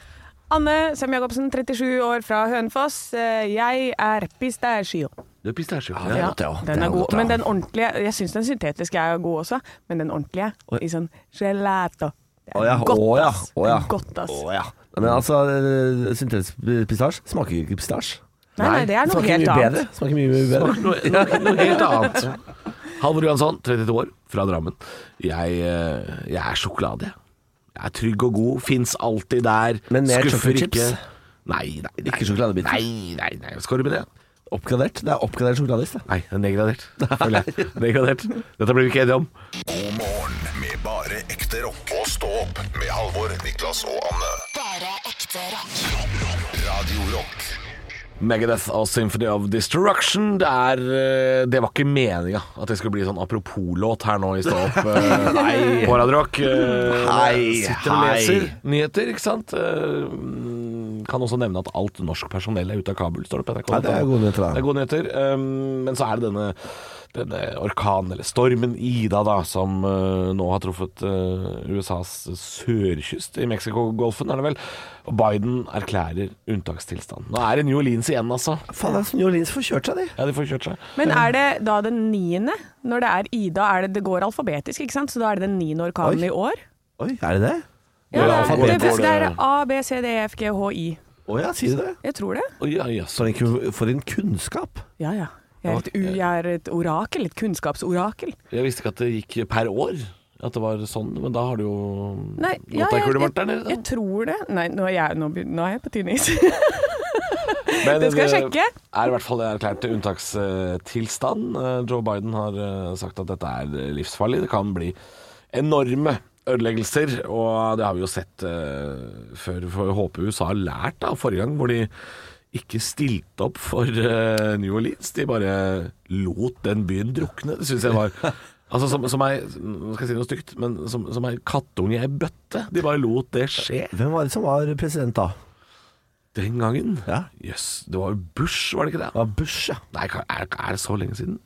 S3: Anne Sem Jacobsen, 37 år, fra Hønefoss. Eh, Jeg er pistachio.
S5: Du er pistasje.
S4: Det er
S3: Ja,
S4: godt, det også.
S3: den
S4: Det
S3: er
S4: er
S3: god.
S4: godt, det
S3: Men
S4: også.
S3: den ordentlige Jeg syns den syntetiske er god også, men den ordentlige i sånn gelato. Det er
S4: Å ja,
S3: godt,
S4: å ja,
S3: ass.
S4: å ja.
S3: Det er Godt, ass.
S4: Å ja. Men altså, eh, syntetisk pistasje smaker jo ikke pistasje.
S3: Nei, nei, det er noe
S4: Smaker
S3: helt
S4: mye
S3: annet.
S4: bedre. Smaker mye, mye bedre.
S5: Noe, noe, noe helt annet. Halvor Johansson, 32 år, fra Drammen. Jeg, eh, jeg er sjokolade. jeg. Jeg er trygg og god, fins alltid der.
S4: Men mer
S5: skuffer
S4: chocolate chips?
S5: Nei, nei, nei.
S4: Ikke sjokoladebiter?
S5: Nei, nei, nei. Skal du med det?
S4: Oppgradert? Det er oppgradert sjokoladis, det.
S5: Nei, det
S4: *laughs*
S5: er nedgradert. Føler jeg. Nedgradert. Dette blir vi ikke enige om.
S2: God morgen med bare ekte rock. Og stå opp med Halvor, Niklas og Anne.
S1: Bare ekte rock.
S2: Radio Rock.
S5: Megadeth og Symphony of Destruction. Det, er, eh, det var ikke meninga at det skulle bli sånn apropos-låt her nå i Stå opp eh, på Radio Rock. Eh,
S4: Hei,
S5: Sitter og
S4: hei.
S5: leser nyheter, ikke sant. Eh, mm, Kan også nevne at alt norsk personell er ute av Kabul, står det på NRK.
S4: Ja, det er gode nyheter, da.
S5: Det er gode nyheter. eh, Men så er det denne, denne orkanen, eller stormen Ida, da, som eh, nå har truffet eh, USAs sørkyst i Mexicogolfen, er det vel. Og Biden erklærer unntakstilstand. Nå er det New Orleans igjen, altså.
S4: Faen, det er så New Orleans får kjørt seg, de.
S5: Ja, de får kjørt seg.
S3: Men er det da den niende? Når det er Ida, er det, det går alfabetisk, ikke sant? Så da er det den niende orkanen
S4: Oi.
S3: i år?
S4: Oi, er det det?
S3: Ja, det, er, det,
S5: alfabetisk.
S3: det er A, B, C, D, E, F, G, H, I.
S4: Å ja, sier du det?
S3: Jeg tror det.
S5: Oi, ja, ja, så-
S4: For en, ku- for en kunnskap.
S3: Ja, ja. Jeg er et, u, jeg er et orakel, et kunnskapsorakel.
S5: Jeg visste ikke at det gikk per år. At det var sånn, men da har du jo
S3: Nei, ja,
S5: gått deg kule bart der
S3: jeg,
S5: nede.
S3: jeg tror det. Nei, nå er jeg, nå, begyn- nå er jeg på tynn is.
S5: Men
S3: *laughs*
S5: eh,
S3: Det skal jeg sjekke.
S5: er i hvert fall erklært unntakstilstand. Eh, Joe Biden har eh, sagt at dette er livsfarlig. Det kan bli enorme ødeleggelser, og det har vi jo sett eh, før. For håper USA har lært da, forrige gang, hvor de ikke stilte opp for eh, New Orleans. De bare lot den byen drukne. Det syns jeg var Altså som, som ei Nå skal jeg si noe stygt, men som, som ei kattunge i ei bøtte. De bare lot det skje.
S4: Hvem var det som var president da?
S5: Den gangen Jøss,
S4: Ja.
S5: det var jo Bush, var det ikke det?
S4: Det var Bush, ja.
S5: Nei, kan- er, er det så lenge siden?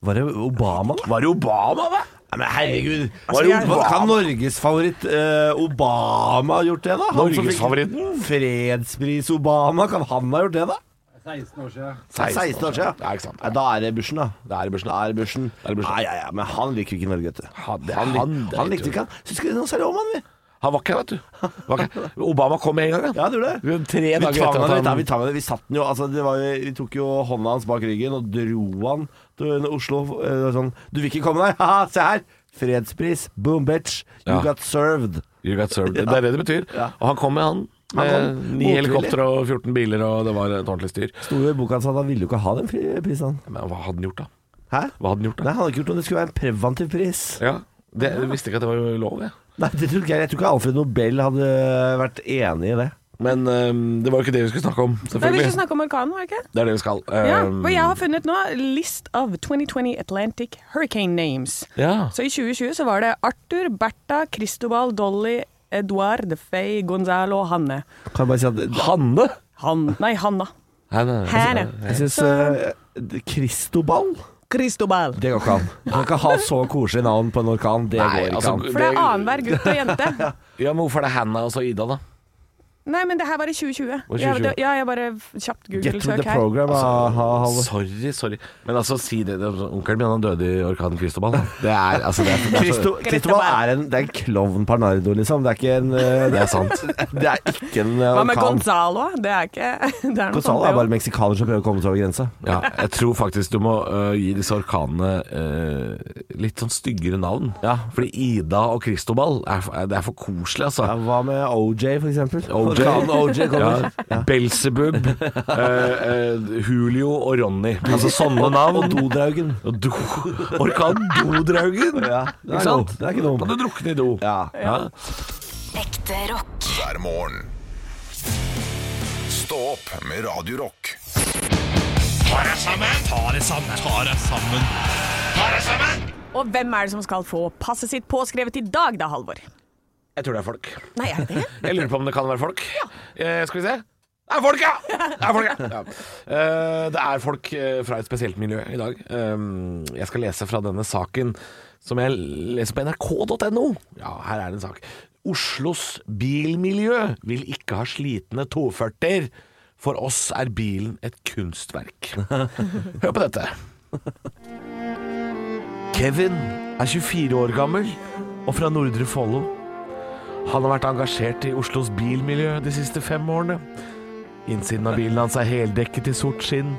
S4: Var det Obama, da?
S5: Var det Obama, da?
S4: Nei, men herregud.
S5: Altså,
S4: Var det
S5: jeg-
S4: Obama? Kan Norges favoritt eh, Obama ha gjort det, da? Han som fikk
S5: Norgesfavoritten?
S4: Fredspris Obama, kan han ha gjort det, da?
S8: 16 år siden.
S4: 16 år siden.
S5: Ja, ikke sant.
S4: Nei, da er det Bushen, da. Da er det Bushen.
S5: Da er det Bushen.
S4: Nei, ja, ja, men han liker jo ikke Norge, vet du.
S5: Han- det-
S4: han,
S5: han-
S4: han, han likte ikke han. Syns ikke noe særlig om han, vi.
S5: Han var ikke her, vet du. Var ikke her. Obama kom med en gang,
S4: Ja, han gjorde det.
S5: Vi- Tre
S4: Vi
S5: dager
S4: tvang
S5: etter
S4: han
S5: at
S4: litt, ja,
S5: han
S4: vi tvang han litt. Vi satt den jo, altså, det var jo, vi tok jo hånda hans bak ryggen og dro han til Oslo. eh, Sånn, du vil ikke komme deg? *laughs* Haha, se her! Fredspris, boom bitch, you
S5: Ja.
S4: got served.
S5: You got served. Det er det det betyr.
S4: Ja.
S5: Og han kom med, han.
S4: Han kom
S5: Med ni
S4: motvillig.
S5: helikoptre og 14 biler, og det var et ordentlig styr.
S4: Sto jo i boka hans at han ville jo ikke ha den fri- prisen. han.
S5: Men hva hadde han gjort, da?
S4: Hæ?
S5: Hva hadde han gjort
S4: Nei,
S5: da?
S4: han hadde ikke gjort noe. Det skulle være en preventiv pris.
S5: Ja, det, jeg visste ikke at det var lov, jeg.
S4: Nei, det tror ikke jeg. Jeg tror ikke Alfred Nobel hadde vært enig i det.
S5: Men øhm, det var jo ikke det vi skulle snakke om,
S3: Nei, vi skal
S5: selvfølgelig.
S3: snakke om orkanen, var det ikke?
S5: Det er det vi skal. Ehm,
S3: Ja,
S5: Øhm,
S3: og jeg har funnet nå list of 2020 Atlantic Hurricane Names.
S5: ja.
S3: Så i 2020 så var det Arthur, Bertha, Cristobal, Dolly, Eduard, Faye, Gonzalo og Hanne.
S4: Kan jeg bare si at
S5: Hanne!
S3: Han, nei, Hanna.
S5: Nei, nei, nei.
S3: Hanne.
S4: jeg syns uh, Cristobal
S3: Cristobal.
S4: Det går ikke an. Du kan ikke ha så koselig navn på en orkan. Det
S5: Nei,
S4: går ikke
S5: altså,
S4: an.
S3: For det er annenhver gutt og jente.
S5: Ja, men hvorfor er det Hanna og så Ida, da?
S3: Nei, men det her var i 2020.
S5: Var i
S3: Ja,
S5: 2020.
S3: det- ja, jeg bare kjapt
S4: Get with
S3: Google-søk
S4: the
S3: her.
S4: program. ha, ha, ha.
S5: Sorry, sorry. Men altså, si det. det onkelen min han døde i orkanen Cristobal. da. Det er altså det er, det er,
S4: Christo, Cristobal er en, det er en klovn Parnardo, liksom. Det er ikke en eh,
S5: det er sant.
S4: Det er ikke en eh,
S3: Hva med
S4: orkan.
S3: Gonzalo? Det er ikke *laughs* det er noe
S4: Gonzalo
S3: sånt,
S4: er
S3: det
S4: bare
S3: også.
S4: meksikaner som prøver å komme seg over grensa.
S5: Ja, jeg tror faktisk du må øh, gi disse orkanene øh, litt sånn styggere navn. Ja. Fordi Ida og Cristobal er, for- er, det er for koselig, altså.
S4: Ja, hva med OJ, for eksempel?
S5: OJ.
S4: Orkanen OJ kommer.
S5: Ja. Belzebub, øh, øh, Julio og Ronny. Altså sånne
S4: Og
S5: navn.
S4: Dodraugen.
S5: Og do, orkan Dodraugen!
S4: Ja, det er
S5: ikke sant?
S4: god. Det er ikke dum.
S5: Kan du drukne i do?
S4: Ja.
S5: ja.
S1: Ekte rock.
S2: hver morgen. Stå opp med Radio Rock.
S3: Og hvem er det som skal få passet sitt påskrevet i dag, da, Halvor?
S5: Jeg tror det er folk.
S3: Nei, er det det?
S5: Jeg lurer på om det kan være folk. Eh, skal vi se. Det er folk, ja! Det er folk, ja. ja. Eh, det er folk eh, fra et spesielt miljø i dag. Um, jeg skal lese fra denne saken som jeg leser på nrk.no. Ja, her er det en sak. Oslos bilmiljø vil ikke ha slitne 240-er. For oss er bilen et kunstverk. Hør på dette. Kevin er 24 år gammel og fra Nordre Follo. Han har vært engasjert i Oslos bilmiljø de siste fem årene. Innsiden av bilen hans er heldekket i sort skinn.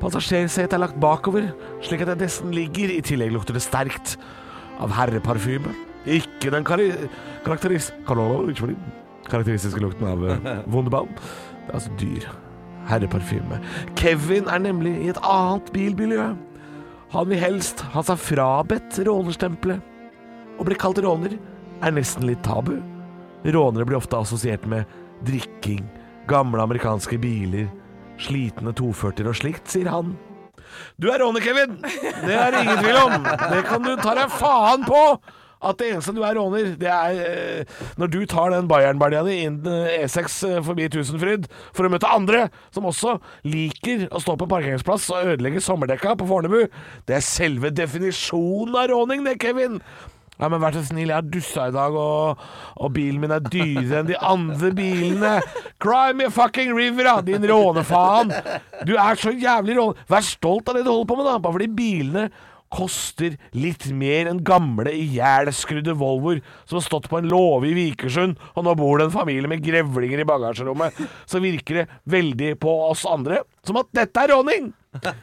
S5: Passasjersetet er lagt bakover, slik at jeg nesten ligger. I tillegg lukter det sterkt av herreparfyme. Ikke den kari karakteris kar- karakteristiske lukten av eh, Wunderbaum. Det er altså dyr herreparfyme. Kevin er nemlig i et annet bilmiljø. Han vil helst ha seg frabedt rånerstempelet. Å bli kalt råner er nesten litt tabu. Rånere blir ofte assosiert med drikking, gamle amerikanske biler, slitne 240-er og slikt, sier han. Du er råner, Kevin! Det er det ingen tvil om. Det kan du ta deg faen på! At det eneste du er råner, det er eh, når du tar den Bayern-balja di inn eh, E6 eh, forbi Tusenfryd for å møte andre som også liker å stå på parkeringsplass og ødelegge sommerdekka på Fornebu. Det er selve definisjonen av råning, det, Kevin! Ja, men vær så snill, jeg har dussa i dag, og, og bilen min er dyrere enn de andre bilene. Cry me a fucking river, da, din rånefaen! Du er så jævlig råne... Vær stolt av det du holder på med, da, bare fordi bilene koster litt mer enn gamle, ihjelskrudde Volvoer som har stått på en låve i Vikersund, og nå bor det en familie med grevlinger i bagasjerommet. Så virker det veldig på oss andre som at dette er råning!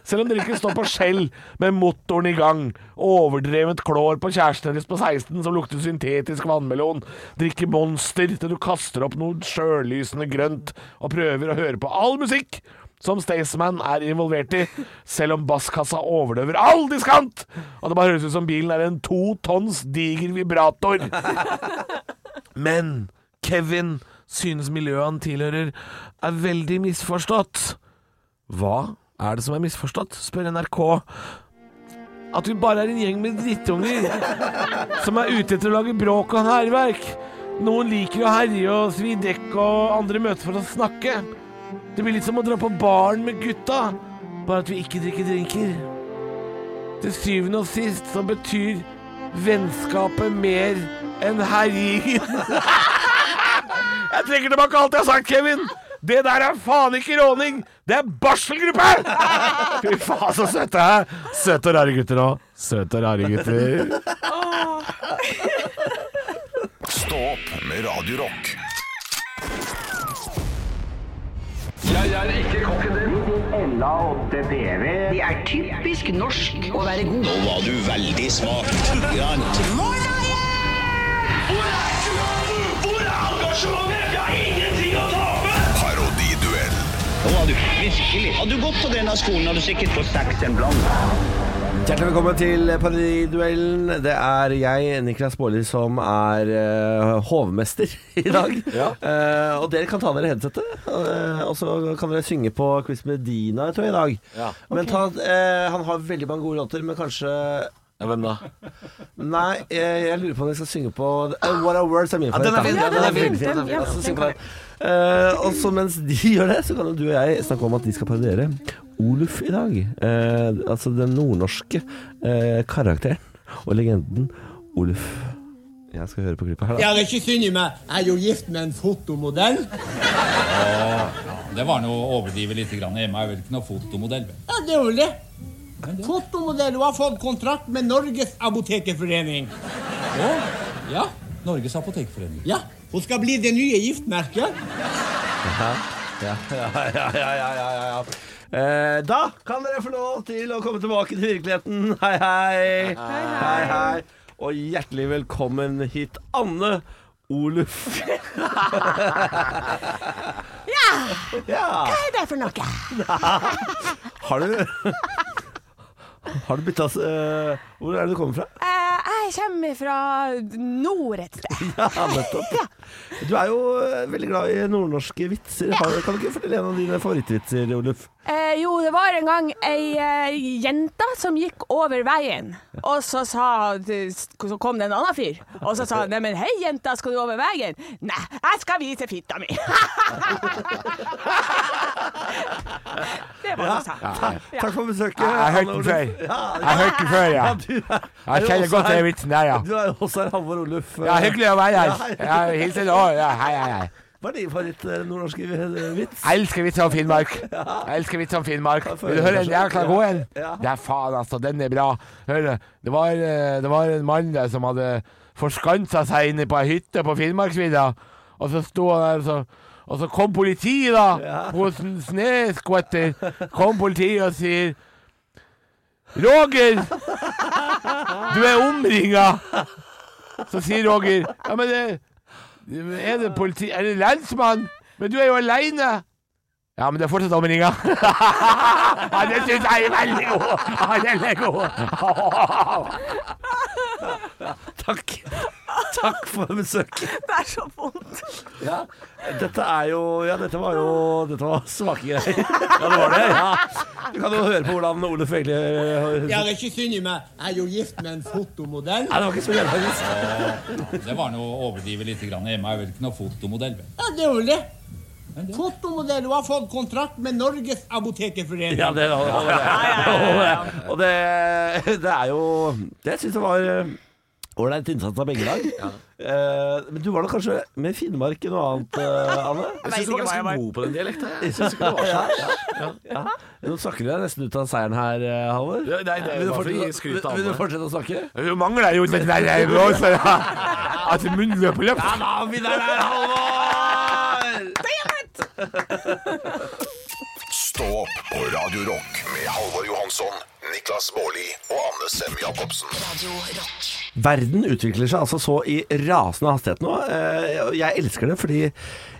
S5: Selv om dere ikke står på skjell med motoren i gang, overdrevent klår på kjæresten deres på 16 som lukter syntetisk vannmelon, drikker Monster til du kaster opp noe sjølysende grønt og prøver å høre på all musikk som Staysman er involvert i, selv om basskassa overdøver all diskant, og det bare høres ut som bilen er en to tonns diger vibrator. Men Kevin synes miljøet han tilhører er veldig misforstått. Hva er det som er misforstått? spør NRK. At vi bare er en gjeng med drittunger som er ute etter å lage bråk og hærverk. Noen liker å herje og svi dekk, og andre møtes for å snakke. Det blir litt som å dra på baren med gutta, bare at vi ikke drikker drinker. Til syvende og sist så betyr vennskapet mer enn herjingen. Jeg trekker tilbake alt jeg har sagt, Kevin. Det der er faen ikke råning! Det er barselgruppe! *laughs* Fy faen, så søte jeg er. Søte og rare gutter òg. Søte og rare gutter.
S2: Stå opp med Radio Rock.
S8: Nå var du veldig smart.
S2: Parodiduell.
S8: Nå var du virkelig. Hadde du gått på denne skolen, hadde du sikkert fått seks en blant.
S4: Hjertelig velkommen til Parodiduellen. Det er jeg, Niklas Baarli, som er eh, hovmester *laughs* i dag. Eh, og dere kan ta dere headsetet, eh, og så kan dere synge på Chris Medina tror jeg, i dag. Men ta, eh, Han har veldig mange gode låter, men kanskje
S5: Hvem da?
S4: Nei, jeg, jeg lurer på om jeg skal synge på eh, What Are Words er min favoritt.
S5: den
S4: da.
S5: er fin, den er fin,
S4: veldig
S3: den er fin.
S4: Ja, så syng på den. Eh, og så mens de *laughs* gjør det, så kan jo du og jeg snakke om at de skal parodiere Oluf i dag. Eh, altså den nordnorske eh, karakteren og legenden Oluf. Jeg skal høre på klippet her, da.
S9: Jeg har ikke syndet meg. Jeg er jo gift med en fotomodell.
S10: Det var noe å overdrive litt. Grann. Emma er vel ikke noe fotomodell?
S9: Ja, det er vel det. Fotomodell. Hun har fått kontrakt med Norges apotekerforening.
S10: Å, ja. Norges apotekforening.
S9: Ja, hun skal bli det nye giftmerket.
S4: Ja, *laughs* ja, ja, ja, ja, ja, ja. Eh, da kan dere få lov til å komme tilbake til virkeligheten. Hei, hei. Hei, hei. Og hjertelig velkommen hit, Anne Oluf. *laughs* ja.
S1: Hva er det for noe?
S4: *laughs* Har du Har du bytta eh, Hvor er det du kommer fra?
S1: Eh, jeg kommer fra nord et sted.
S4: *laughs* Ja, nettopp. Du er jo eh, veldig glad i nordnorske vitser. Har, kan du ikke fortelle en av dine favorittvitser, Oluf?
S1: Eh, jo, det var en gang ei eh, jente som gikk over veien. Og så, sa, så kom det en annen fyr. Og så sa han neimen hei, jenta, skal du over veien? Nei, jeg skal vise fitta mi. *laughs* det var det han sa.
S4: Takk for besøket.
S5: Jeg har hørt
S4: Anne
S5: den
S4: Oluf.
S5: før.
S4: Ja,
S5: Jeg har hørt den før, ja.
S4: Ja, du er,
S5: Jeg kjenner godt til den vitsen der, ja.
S4: Du er jo også her, Halvor Oluf.
S5: Ja, hyggelig å være
S4: Ja,
S5: her. Ja, hilsen òg. Ja, hei, hei, hei.
S4: Hva er din favoritt eh, nordnorske eh, vits?
S5: Jeg elsker Vits om Finnmark. Jeg elsker Vits om Finnmark.
S4: Da får
S5: Vil du
S4: jeg
S5: høre en
S4: kanskje-
S5: jækla god en?
S4: Ja.
S5: Det er faen, altså. Den er bra. Hør, nå. det var, eh, det var en mann der som hadde forskansa seg inne på ei hytte på Finnmarksvidda. Og så sto han der, så, og så kom politiet, da. På sn- snøskvetter. Kom politiet og sier Roger, du er omringa. Så sier Roger Ja, men det, er det politi... Er det lensmann? Men du er jo aleine.
S11: Ja, men det er fortsatt omringa. ja, det syns jeg er veldig god! Ja, den er god!
S4: Takk. Takk for besøket.
S1: Det er så vondt.
S4: Ja, dette er jo Ja, dette var jo Dette var svake greier. Ja, det var det. Ja. Du kan jo høre på hvordan Oluf egentlig eh,
S9: Jeg har ikke synd i meg. Jeg er jo gift med en fotomodell.
S4: Nei, det var ikke så gærent, faktisk.
S10: Det var noe å overdrive litt. Grann. Emma er vel ikke noe fotomodell. vel?
S9: Ja, det er vel det. Fotomodell og har fått kontrakt med Norges apotekerforening.
S4: Ja, det, og, og, og, og det, det er jo Det syns jeg var eh, ålreit innsats av begge lag. Eh, men du var da kanskje med Finnmark i noe annet, eh, Anne?
S5: Jeg syns du var ganske god på den dialekten. Jeg synes ikke det var så
S4: Ja, ja, ja. Nå snakker du deg nesten ut av seieren her, eh, Halvor.
S5: Ja, nei, det er
S4: vil, du
S5: bare fordi jeg
S4: fortsette, vil,
S5: skryter av
S4: vil du
S5: meg.
S4: fortsette å snakke?
S11: Du mangler jo den der eh, også, ja. At munnen er på løp.
S4: Ja da, vi der er Halvor!
S2: Stå opp på Radio Rock med Halvor Johansson, Niklas Baarli og Anne Sem Jacobsen.
S4: Verden utvikler seg altså så i rasende hastighet nå. Eh, og Jeg elsker det, fordi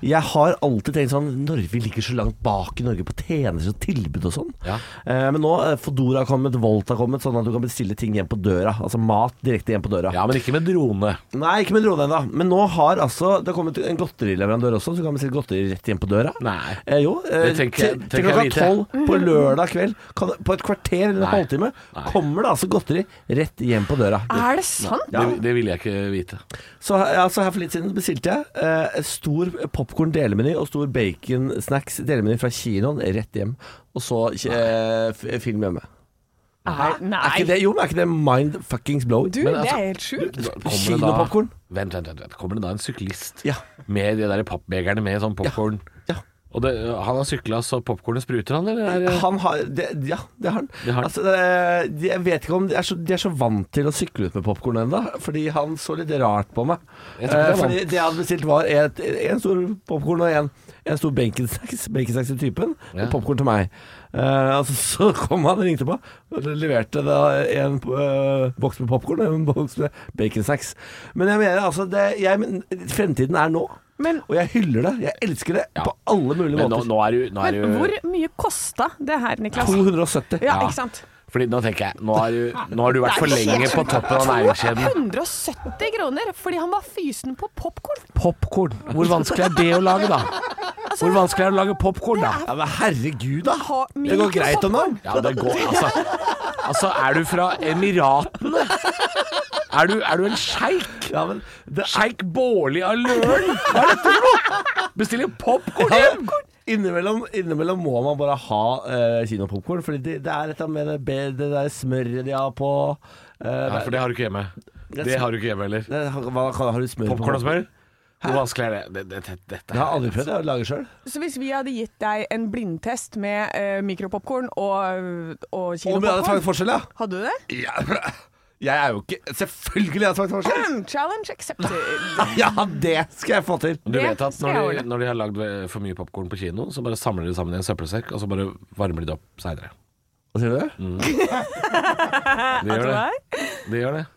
S4: jeg har alltid tenkt sånn Norge ligger så langt bak i Norge på tjenester og tilbud og sånn.
S5: Ja.
S4: Eh, Men nå eh, Fodora har kommet, Volt har kommet, sånn at du kan bestille ting hjem på døra. Altså mat direkte hjem på døra.
S5: Ja, men ikke med drone.
S4: Nei, ikke med drone ennå. Men nå har altså Det har kommet en godterileverandør også, så du kan bestille godteri rett hjem på døra.
S5: Nei.
S4: Eh, jo. Eh,
S5: Det tenker jeg-
S4: til- til
S5: tenker jeg
S4: klokka
S5: lite.
S4: tolv på lørdag kveld, kan, på et kvarter eller en
S5: Nei.
S4: halvtime,
S5: Nei.
S4: kommer det altså godteri rett hjem på døra.
S3: Er det sant?
S4: Ja.
S5: Det, det ville jeg ikke vite.
S4: Så ja, så her for litt siden bestilte jeg eh, stor popkorn delemeny og stor baconsnacks delemeny fra kinoen rett hjem. Og så eh, f- film hjemme.
S3: Er,
S4: Er ikke
S3: nei.
S4: det, jo, men er ikke det mind fuckings blowing?
S3: Du,
S5: Men
S3: det
S5: altså-
S3: er helt sjukt.
S5: Da kommer det da-
S4: Kinopopcorn.
S5: Vent, vent, vent, vent. Kommer det da en syklist
S4: Ja.
S5: med de der pappbegerne med sånn popkorn?
S4: Ja.
S5: Og det, han har sykla så popkornet spruter, han, eller? Er det-
S4: Han har det, Ja, det har han.
S5: Det har han.
S4: Altså, eh, de- jeg vet ikke om de er, så, de er så vant til å sykle ut med popkorn ennå, fordi han så litt rart på meg.
S5: Jeg tror ikke
S4: Eh,
S5: det er
S4: fordi det jeg hadde bestilt, var et, en stor popkorn og en, en stor baconsnacks baconsnacks til typen,
S5: Ja.
S4: og popkorn til meg. Eh, altså, så kom han og ringte på, og leverte da en eh, boks med popkorn og en boks med baconsnacks. Men jeg mener altså det, jeg, men, Fremtiden er nå.
S3: Men-
S4: og jeg hyller det. Jeg elsker det
S5: Ja.
S4: på alle mulige
S5: Men nå,
S4: måter.
S5: nå er du, nå er
S3: Men
S5: du
S3: hvor mye kosta det her, Niklas?
S4: 270.
S3: Altså, Ja,
S5: Ja.
S3: ikke sant?
S5: Fordi nå tenker jeg Nå har du, nå har du vært for lenge på toppen av næringskjeden.
S3: 170 kroner fordi han var fysen på popkorn.
S5: Popkorn. Hvor vanskelig er det å lage, da? Hvor vanskelig er det å lage popkorn, da?
S4: Ja, men herregud, da!
S3: Ha-
S4: Det går greit om dagen.
S5: Ja, det går Altså, altså er du fra Emiratene? Er du, er du en sjeik?
S4: Ja, men det er
S5: Sjeik Bårli av Løren? Hva er dette for noe? Bestiller popkorn
S4: ja,
S5: hjem?
S4: innimellom, innimellom må man bare ha uh, kinopopkorn, Fordi det, det er et eller annet med det, be- det der smøret de har på eh,
S5: Ja, for det har du ikke hjemme. Det har du ikke hjemme heller.
S4: det, har- Hva kan- har du smør på?
S5: Popkorn og smør? Hvor vanskelig er det? det, det, det dette
S4: Jeg har aldri prøvd det, jeg lager sjøl.
S3: Så hvis vi hadde gitt deg en blindtest med uh, mikropopkorn og, og
S4: Om jeg hadde smakt
S3: kinopopkorn
S4: forskjell, ja.
S3: Hadde
S5: *clears throat*
S3: du det?
S4: ja! Jeg er jo ikke Selvfølgelig har jeg smakt forskjell!
S3: Challenge accepted.
S4: Ja, det skal jeg få til.
S5: Du vet at
S3: skal jeg
S5: når de,
S3: ordne.
S5: når de har lagd eh, for mye popkorn på kino, så bare samler de det sammen i en søppelsekk, og så bare varmer de det opp seinere.
S4: Hva sier du?
S5: De gjør det. De gjør det.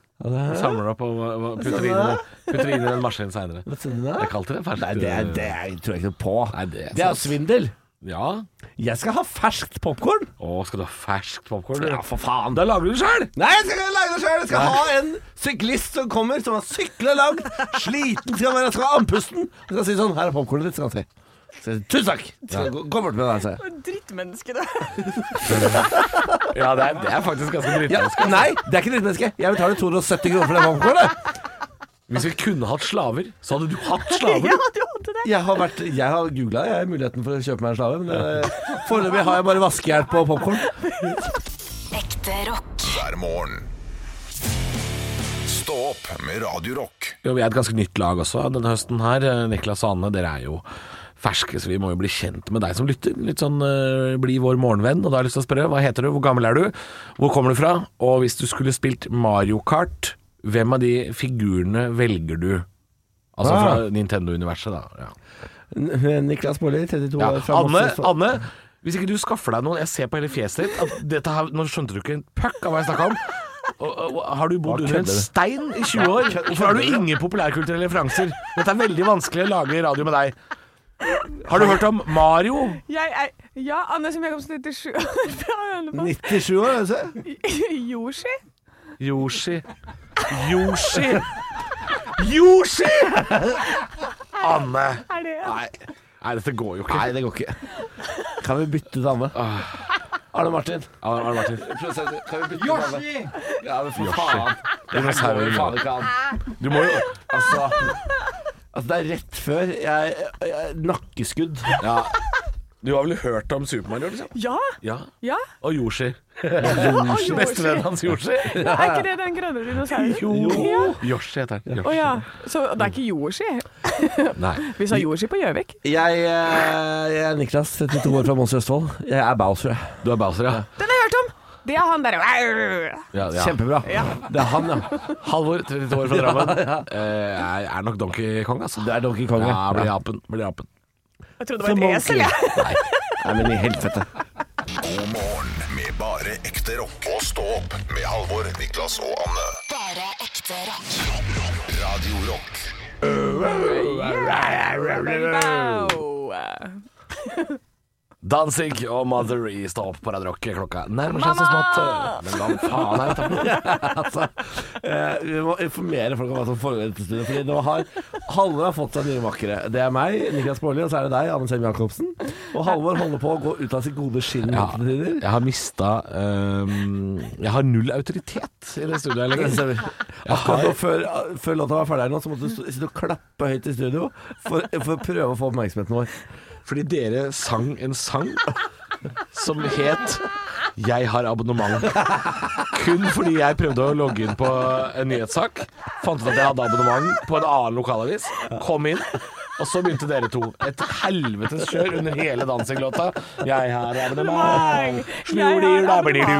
S5: Samler det opp og og putter det inn, i- putter det inn i en maskin seinere.
S4: Hva sier du
S5: Det er
S4: da?
S5: kaldt i det eh, ferskt.
S4: Nei, det, er- det er- tror jeg ikke noe på.
S5: Nei, det er
S4: Det er jo
S5: sant.
S4: svindel.
S5: Ja.
S4: Jeg skal ha ferskt popkorn.
S5: Å, skal du ha ferskt popkorn?
S4: Ja, for faen.
S5: Da lager du det sjøl!
S4: Nei, jeg skal ikke lage det sjøl! Jeg skal ha en syklist som kommer, som har sykla langt, sliten skal han være, skal ha andpusten. Og skal si sånn 'Her er popkornet ditt', skal han si. Så jeg sier, Tusen takk! Så gå- Gå bort med altså. deg, sier jeg.
S3: Drittmenneske,
S5: *laughs*
S3: du.
S5: Ja, det er, det er faktisk ganske
S4: Ja,
S5: dritvanskelig.
S4: nei, det er ikke ditt menneske. Jeg betaler 270 kroner for det popkornet.
S5: Hvis vi kunne hatt slaver, så hadde du hatt slaver.
S3: *laughs* Ja, du hadde det.
S4: Jeg har, vært- jeg har googla muligheten for å kjøpe meg en slave, men eh, foreløpig har jeg bare vaskehjelp og popkorn.
S12: Ekte rock.
S2: hver morgen. Stå opp med Radio Rock.
S5: Jo, vi er et ganske nytt lag også denne høsten her. Eh, Niklas og Anne, dere er jo ferske, så vi må jo bli kjent med deg som lytter. Litt sånn eh, bli vår morgenvenn. Og da har jeg lyst til å spørre, hva heter du, hvor gammel er du, hvor kommer du fra? Og hvis du skulle spilt Mario Kart, hvem av de figurene velger du? Altså
S4: Ah.
S5: fra Nintendo-universet, da. Ja.
S4: N- Niklas Baarli, 32
S5: Ja.
S4: år fra
S5: Anne,
S4: Moss.
S5: Anne, hvis ikke du skaffer deg noen Jeg ser på hele fjeset ditt at dette her, Nå skjønte du ikke en puck av hva jeg snakka om. Og, og, har du bodd
S4: Hva
S5: under en
S4: kødder du?
S5: stein i 20 år? Hvorfor har du ingen populærkulturelle referanser? Dette er veldig vanskelig å lage radio med deg. Har du hørt om Mario?
S3: Jeg er Ja, Anne som Jacobsen, 97 år *laughs* fra Hønefoss.
S4: 97 år, er det så?
S3: Yoshi?
S5: Yoshi. Yoshi! Yoshi! Anne.
S3: Er det
S5: Nei. Nei, dette går jo ikke.
S4: Nei, det går ikke. Kan vi bytte dame? Arne Martin.
S5: Arne Martin.
S4: Kan vi bytte dame?
S11: Yoshi!
S4: Ja, men for
S5: Yoshi.
S4: faen. Det
S5: må
S4: går jo
S5: seriøst.
S4: faen ikke an.
S5: Du må jo
S4: Altså, altså det er rett før jeg, jeg Nakkeskudd.
S5: Ja. Du har vel hørt om Super Mario, liksom?
S3: Ja.
S5: Ja.
S3: Ja.
S5: Og Yoshi.
S3: og Yoshi.
S5: Bestevennen hans Yoshi.
S3: Ja, er ikke det den grønne
S5: *laughs*
S3: dinosauren? Ja.
S5: Yoshi heter han.
S3: Å ja. Så det er ikke Yoshi?
S5: Nei.
S3: Vi sa Yoshi på Gjøvik.
S4: Jeg, eh, jeg er Niklas, 32 år fra Mons i Østfold. Jeg er Bowser. jeg.
S5: Du er Bowser, ja.
S3: Den har jeg hørt om! Det er han derre
S5: Ja, ja.
S4: Kjempebra. Det er han, ja.
S5: Halvor, 32
S4: *laughs*
S5: år fra Drammen. Eh, er- er nok Donkey Kong, altså.
S4: Det er Donkey Kong.
S5: Ja, blir apen. Blir apen.
S3: Jeg trodde det var et esel, jeg.
S4: Nei, men i helvete.
S2: God morgen med bare ekte rock. Og stå opp med Halvor, Niklas og Anne.
S12: Bare ekte rock.
S2: Radio Rock
S5: *laughs*
S3: Wow.
S5: Dancing og Mother
S4: E
S5: i Stå opp på Radio Rock. Klokka nærmer seg så
S3: Mamma!
S4: eh,
S5: smått. Men hva faen er dette?
S4: *laughs* altså, eh, vi må informere folk om hva som foregår i dette studioet. Fordi nå har Halvor har fått seg nye makkere. Det er meg, Niklas Baarli, og så er det deg, Anne Sem Jacobsen. Og Halvor holder på å gå ut av sitt gode skinn.
S5: Ja,
S4: til tider.
S5: jeg har mista ehm, Jeg har null autoritet i det studioet
S4: Det
S5: lenger.
S4: stemmer. Akkurat nå, før, før låta var ferdig her nå, så måtte du stå- sitte og klappe høyt i studio for, for å prøve å få oppmerksomheten vår.
S5: Fordi dere sang en sang som het 'Jeg har abonnement'. Kun fordi jeg prøvde å logge inn på en nyhetssak. Fant ut at jeg hadde abonnement på en annen lokalavis. Kom inn. Og så begynte dere to. Et helvetes kjør under hele dansinglåta. Jeg har abonnement. Slurdyr, da blir du.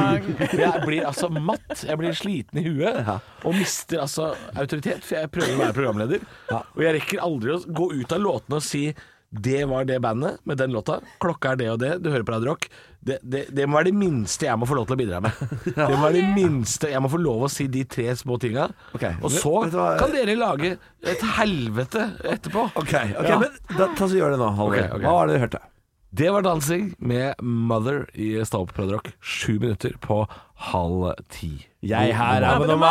S5: Jeg blir altså matt. Jeg blir sliten i huet. Og mister altså autoritet, for jeg prøver å være programleder. Og jeg rekker aldri å gå ut av låtene og si det var det bandet med den låta. Klokka er det og det. Du hører på Radio Rock. Det, det, det må være det minste jeg må få lov til
S4: *laughs*
S5: å bidra med. Det må være det minste Jeg må få lov å si de tre små tinga.
S4: Ok.
S5: Og så
S4: Vet du hva-
S5: kan dere lage et helvete etterpå.
S4: Ok, ok,
S5: Ja.
S4: men da, ta så gjør det nå, Halvor.
S5: Ok, ok.
S4: Hva var det du hørte?
S5: Det var dansing med Mother i Stå opp på Radio Rock. Sju minutter på halv ti.
S4: Jeg har
S5: Da er vi i
S4: abonnement!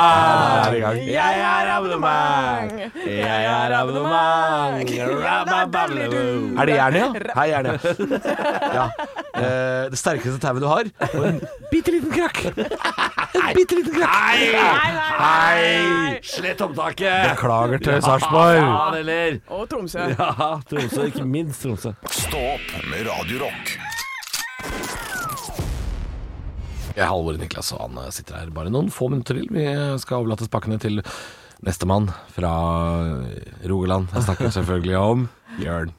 S5: gang.
S4: Jeg har abonnement! Jeg har abonnement!
S5: Er det jernet, ja? Hei, jernet. *laughs* Ja. Eh, det sterkeste tauet du har, og en bitte liten krakk. En bitte liten krakk.
S4: Hei! Slett opptaket!
S5: Beklager til
S4: Ja,
S5: Sarpsborg.
S4: det ler.
S3: Og Tromsø.
S4: Ja, Tromsø. Ikke minst Tromsø.
S2: Stå opp med Radio Rock
S5: Jeg er Halvor Niklas og Anne sitter her bare noen få minutter til. Vi eh, skal overlates pakkene til nestemann fra eh, Rogaland. Jeg snakker selvfølgelig om Jørn.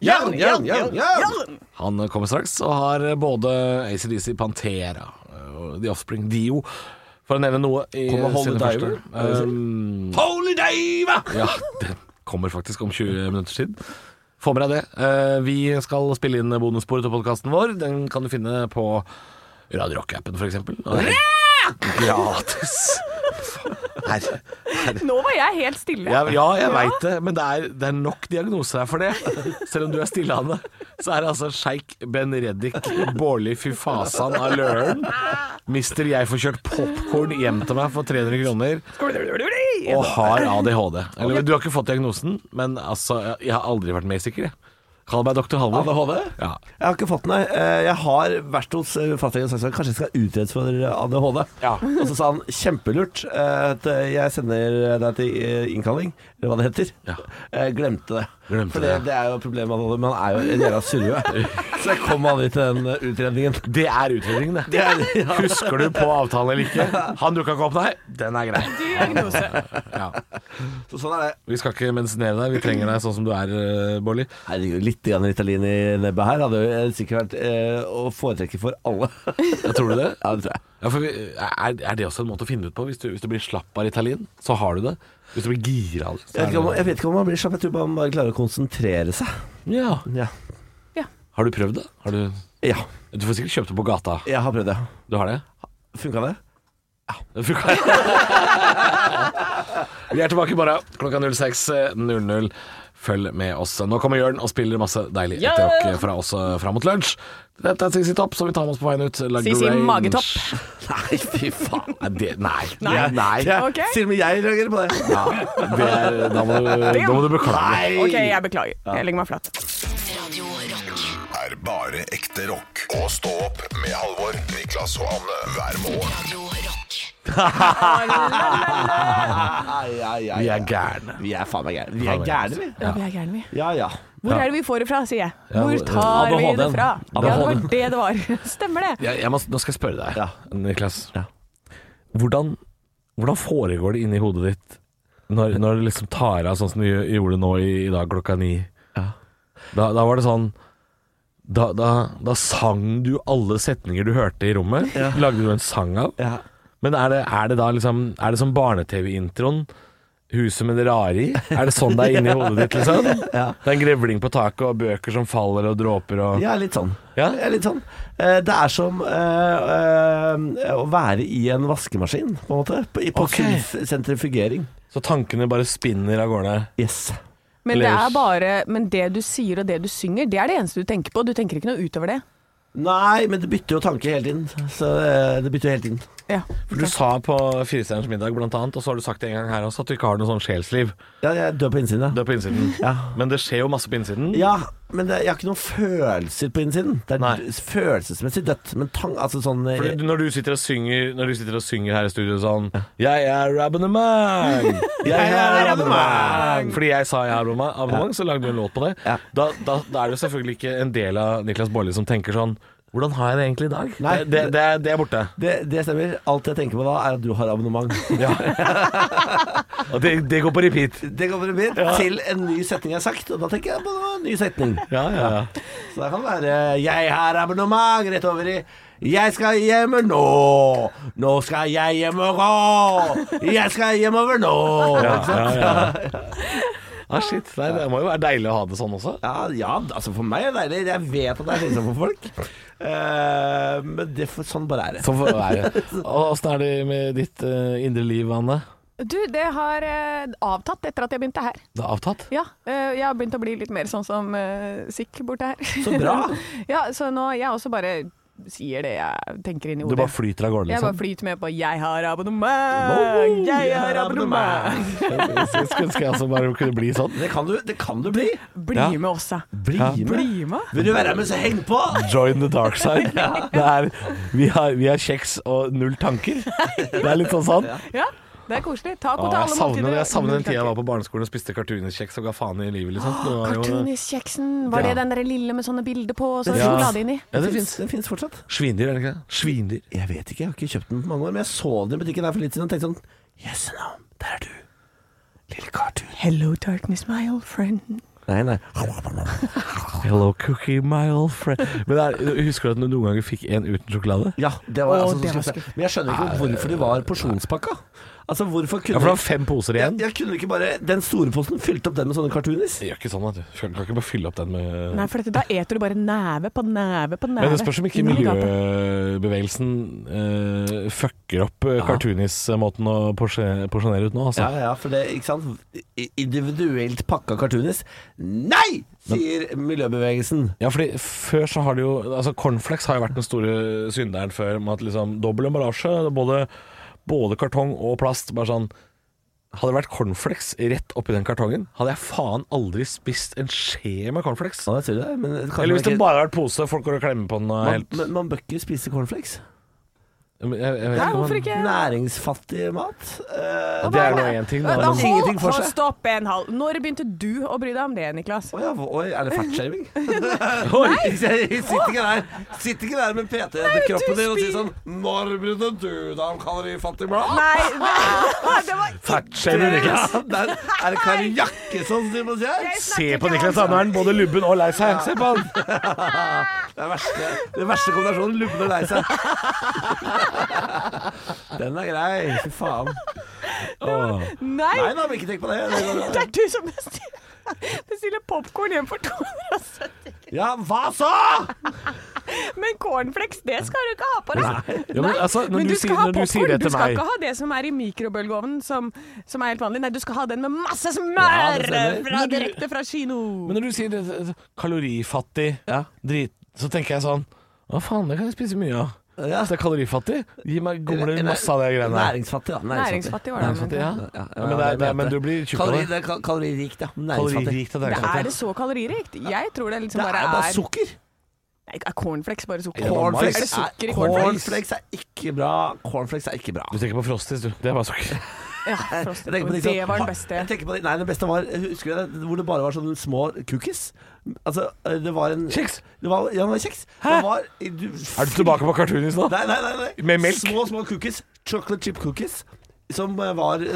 S5: Han kommer straks og har eh, både ACDC, Pantera, eh, og The Offspring, Dio, for å nevne noe. i
S4: Kommer Holy
S5: sine første-
S4: Diver?
S5: Um,
S4: Holy Diva!
S5: ja, den kommer faktisk om 20 minutter siden. Få med deg det. Eh, Vi skal spille inn bonussporet til podkasten vår. Den kan du finne på Radio Rock-appen, f.eks. Gratis! Her, her.
S3: Nå var jeg helt stille.
S5: Ja, ja, jeg veit det, men det er, det er nok diagnoser her for det. Selv om du er stillehande, så er det altså sjeik Ben Reddik Bårli Fyfasan av Løren. Mister jeg får kjørt popkorn hjem til meg for 300 kroner og har ADHD. Eller, du har ikke fått diagnosen, men altså, jeg- jeg har aldri vært medsikker, jeg. Kall meg doktor Halvor.
S4: ADHD?
S5: Ja.
S4: Jeg har ikke fått den, nei. Eh, Jeg har vært hos eh, fastlegen og sagt at kanskje jeg skal utredes for ADHD.
S5: Ja.
S4: Og så sa han kjempelurt eh, at jeg sender deg til eh, innkalling, eller hva det heter.
S5: Ja.
S4: Eh, Glemte det.
S5: Glemte
S4: for
S5: det.
S4: det er jo problemet med ADHD, men han er jo en jævla
S5: *laughs*
S4: surrøe. Så jeg kom aldri til den eh, utredningen.
S5: Det er utfordringen, det.
S4: Det er, ja.
S5: Husker du på avtalen eller ikke? Han dukka ikke opp, nei. Den er grei.
S3: Diagnose.
S5: Ja.
S4: Så sånn er det.
S5: Vi skal ikke medisinere deg, vi trenger deg sånn som du er, Bårli.
S4: Herregud, litt grann Ritalin i nebbet her hadde jo eh, sikkert vært eh, å foretrekke for
S5: *laughs*
S4: alle.
S5: Jeg tror du det?
S4: Ja, det tror jeg.
S5: Ja, for vi, er, er det også en måte å finne det ut på? Hvis du, hvis du blir slapp av Ritalin, så har du det. Hvis du blir gira
S4: Jeg
S5: så
S4: vet,
S5: er
S4: ikke om,
S5: det-
S4: jeg vet ikke om man blir slapp, jeg tror bare man bare klarer å konsentrere seg.
S5: Ja.
S4: Ja.
S5: Har du prøvd det? Har du,
S4: ja.
S5: du får sikkert kjøpt det på gata.
S4: Jeg har prøvd det.
S5: Du har det?
S4: Funka det?
S5: Det funka. *laughs* Vi er tilbake bare klokka 06.00. eh, Følg med oss. Nå kommer Jørn og spiller masse deilig
S3: Ja!
S5: etterrock fra oss eh, fram mot lunsj. Dette er CC Topp, som vi tar med oss på veien ut. La
S3: Sisi
S5: Grange-
S3: Magetopp.
S5: *laughs* Nei, fy faen. Nei, Det, nei.
S3: Nei.
S5: Ja,
S3: Ok.
S4: Til og med jeg reagerer på det.
S5: det er, da, må du, da må du beklage.
S3: OK, jeg beklager. Jeg legger meg flat.
S2: er bare ekte rock. Og stå opp med Halvor, Niklas og Anne hver morgen.
S5: Vi er gærne.
S4: Vi er faen meg gærne.
S5: Faen meg gærne.
S4: vi.
S3: Ja, vi er gærne, vi.
S4: Ja, ja.
S3: Hvor
S5: Ja.
S3: er det vi får det fra, sier jeg.
S5: Ja,
S3: Hvor
S5: hvor-
S3: tar vi det
S5: ADHD-en.
S3: fra? Ja, det var
S5: ADHD-en.
S3: det det var. *laughs* Stemmer det.
S5: Jeg, jeg må, nå skal jeg spørre deg, Niklas. Hvordan, hvordan foregår det inni hodet ditt når, når det liksom tar av sånn som du gjør- gjorde nå i, i dag klokka ni? Da, da var det sånn da, da, da sang du alle setninger du hørte i rommet. Lagde du en sang av. Men er det, er det da liksom Er det som barne-TV-introen? Huset med det rare i? Er det sånn det er inni hodet ditt, liksom? Det er en grevling på taket, og bøker som faller, og dråper og
S4: Ja, litt sånn. Ja, litt sånn. Eh, Det er som eh, eh, å være i en vaskemaskin, på en måte. På, i- på
S5: Ok.
S4: sens- sentrifugering.
S5: Så tankene bare spinner av gårde?
S4: Yes.
S3: Men det er bare Men det du sier og det du synger, det er det eneste du tenker på. Du tenker ikke noe utover det.
S4: Nei, men det bytter jo tanke hele tiden. Så eh, det bytter jo hele tiden.
S3: Ja.
S5: For Du sa på Firestjerners middag blant annet, og så har du sagt det en gang her også, at du ikke har noe sånn sjelsliv.
S4: Ja, jeg dør på innsiden, ja.
S5: Du er på innsiden.
S4: *laughs* Ja.
S5: Men det skjer jo masse på innsiden.
S4: Ja, men det, jeg har ikke noen følelser på innsiden. Det er d- følelsesmessig dødt. Men tang, altså sånn eh,
S5: Fordi du- når, du sitter og synger, når du sitter og synger her i studio sånn Jeg er
S4: *laughs*
S5: abonnement! Jeg er abonnement! Fordi jeg sa jeg er abonnement, abonnement så lagde du en låt på det. Da, da, da er det jo selvfølgelig ikke en del av Niklas Baarli som tenker sånn Hvordan har jeg det egentlig i dag?
S4: Nei.
S5: det, det, er- det er borte.
S4: det, det stemmer. Alt jeg tenker på da, er at du har abonnement.
S5: Og det, det går på repeat.
S4: Det kommer det bli til en ny setning jeg har sagt, og da tenker jeg på en ny setning.
S5: ja, ja.
S4: Så da kan det være 'Jeg har abonnement' rett over i 'Jeg skal hjemme nå'. 'Nå skal jeg hjem og gå'. 'Jeg skal hjemover nå'.
S5: Ja,
S4: Ikke sant?
S5: ja, ja. Ah, shit. Nei, det må jo være deilig å ha det sånn også.
S4: Ja, ja, altså for meg er det deilig. Jeg vet at det er slitsomt for folk. Eh, men det, for, sånn bare er det.
S5: Sånn får det være. Og Åssen er det med ditt eh, indre liv, Anne?
S3: Du, det har eh, avtatt etter at jeg begynte her.
S5: Det er avtatt?
S3: Ja, eh, jeg har begynt å bli litt mer sånn som eh, Sikk borte her.
S4: Så bra.
S3: *laughs* ja, så nå jeg også bare sier det jeg tenker inn i
S5: Du
S3: hodet.
S5: bare flyter av gårde,
S3: Jeg bare
S5: liksom?
S3: flyter med på 'jeg har abonnement', 'jeg har abonnement'.
S5: Jeg skulle ønske jeg også bare kunne bli sånn.
S4: Det kan du, det kan du bli.
S3: Bli
S5: Ja.
S3: med oss, da.
S4: Bli med.
S3: Bli med.
S4: Vil du være med, så heng på!
S5: Join the dark side. Det er, vi, har, vi har kjeks og null tanker. Det er litt sånn sånn.
S3: Ja, det er koselig. Ta
S5: Å,
S3: kontakt alle
S5: jeg savner det. Jeg savner den tida jeg
S3: Null
S5: var på barneskolen og spiste kartuniskjeks og ga faen i livet, liksom. Det var jo-
S3: Cartoonis-kjeksen, var
S5: Ja.
S3: det den der lille med sånne bilder på og sånn
S5: Ja.
S3: sjokolade inni?
S5: Ja, det
S4: Den
S5: fins.
S4: finnes- Den fins fortsatt.
S5: Svindyr, er det ikke det? Svindyr.
S4: Jeg vet ikke, jeg har ikke kjøpt den på mange år, men jeg så den i butikken der for litt siden og tenkte sånn Jøsse navn, der er du. Lille kartur.
S3: Hello darkness, my old friend.
S4: Nei, nei.
S5: Hello, cookie, my old friend. Men det er, husker du at du noen ganger fikk en uten sjokolade?
S4: Ja, det var
S3: Å,
S4: altså
S3: det
S4: så
S3: var
S4: skuffende. Men jeg skjønner ikke hvorfor de var porsjonspakka. Altså, hvorfor kunne
S5: Ja, for det var fem poser
S4: jeg,
S5: igjen.
S4: jeg kunne ikke bare Den store posen fylt opp den med sånne cartoonis.
S5: Jeg gjør ikke sånn, vet du. Kan kan ikke bare fylle opp den med
S3: Nei, for dette, da eter du bare neve på neve på neve.
S5: Men det spørs om ikke
S3: Inn i gapet.
S5: miljøbevegelsen eh, fucker opp eh, cartoonis-måten å porsje- porsjonere ut nå, altså.
S4: Ja, ja, for det, ikke sant. I- Individuelt pakka cartoonis. Nei, sier miljøbevegelsen.
S5: Ja, fordi før så har det jo Altså Cornflakes har jo vært den store synderen før med at liksom dobbel emballasje, både, både kartong og plast. Bare sånn Hadde det vært cornflakes rett oppi den kartongen, hadde jeg faen aldri spist en skje med cornflakes.
S4: Ja, jeg tror det, men kanskje
S5: Eller hvis
S4: man
S5: det
S4: ikke-
S5: bare hadde vært pose, folk går og klemmer på den og
S4: man,
S5: helt
S4: man, man bør ikke spise cornflakes.
S5: jeg, jeg vet
S3: Nei,
S5: ikke om
S3: hvorfor
S5: man-
S3: ikke?
S4: Næringsfattig mat. Eh,
S5: Det er nå én ting, da.
S4: da-
S5: men-
S4: det er ingenting for
S3: Hold-
S4: seg.
S3: Stopp en halv. Når begynte du å bry deg om det, Niklas?
S4: Å ja, oi, er
S3: *laughs*
S4: det fatshaming? Oi, *laughs* jeg sitter ikke der Sitter ikke der med PT etter kroppen din og sier sånn Når begynte du deg om kalorifattig blad?
S3: Nei, det, det var
S5: Fattshamer Niklas.
S4: Ja, der, er det sånn, Kari Jakkesson som må si her?
S3: Jeg
S5: Se
S3: snakker
S5: på
S3: ikke
S5: Niklas,
S3: om-
S5: han er både lubben og lei seg. Se på han.
S4: Det er verste, den verste kombinasjonen. Lubben og lei seg. *laughs* Den er grei. Fy faen. Nei
S3: Nei,
S4: da, men ikke tenk på det. det går
S3: det
S4: bra.
S3: er du som bestiller, bestiller popkorn hjem for 270
S4: Ja, hva så?!
S3: Men cornflakes, det skal du ikke ha på deg.
S5: Nei. Ja, men altså, når du sier- når du sier det
S3: Du
S5: til
S3: skal
S5: meg-
S3: ikke ha det som er i mikrobølgeovnen, som, som er helt vanlig. Nei, du skal ha den med masse
S5: Ja,
S3: smør!
S5: det stemmer.
S3: fra,
S5: Men du-
S3: direkte fra kino.
S5: Men når du sier det, det- kalorifattig drit, så tenker jeg sånn Hva faen, det kan jeg spise mye av. Hvis det er kalorifattig, gi meg gomler masse av de greiene der.
S4: Næringsfattig, da.
S3: Næringsfattig var det han
S5: Næringsfattig, ja.
S3: mente.
S4: Ja,
S5: Ja, men, det er,
S4: det
S5: det, men
S4: mente.
S5: du blir tjukk av
S4: Kalori,
S5: det.
S4: det er ka- kaloririkt, ja.
S5: Kaloririkt og
S3: Men
S5: næringsfattig.
S3: er det så kaloririkt? Jeg tror det liksom
S4: Det er
S3: bare er
S4: bare sukker.
S3: Nei, er cornflakes bare sukker? Er
S4: Cornflakes
S3: det sukker
S4: er,
S3: i cornflakes?
S4: cornflakes er ikke bra. Cornflakes er ikke bra.
S5: Du tenker på Frosties, du. Det er bare sukker.
S3: Ja,
S4: Jeg
S3: Frosted
S4: tenker på de
S3: Corn.
S4: som-
S3: det var den beste.
S4: Jeg tenker på de, nei, det beste var Husker du det? Hvor det bare var sånne små cookies? Altså, det var en Kjeks! Det var, ja, det var kjeks. Det var, du,
S5: Er du tilbake på cartoonis nå?
S4: Nei, nei, nei, nei.
S5: Med melk?
S4: Små, små cookies. Chocolate chip cookies. Som eh, var Det,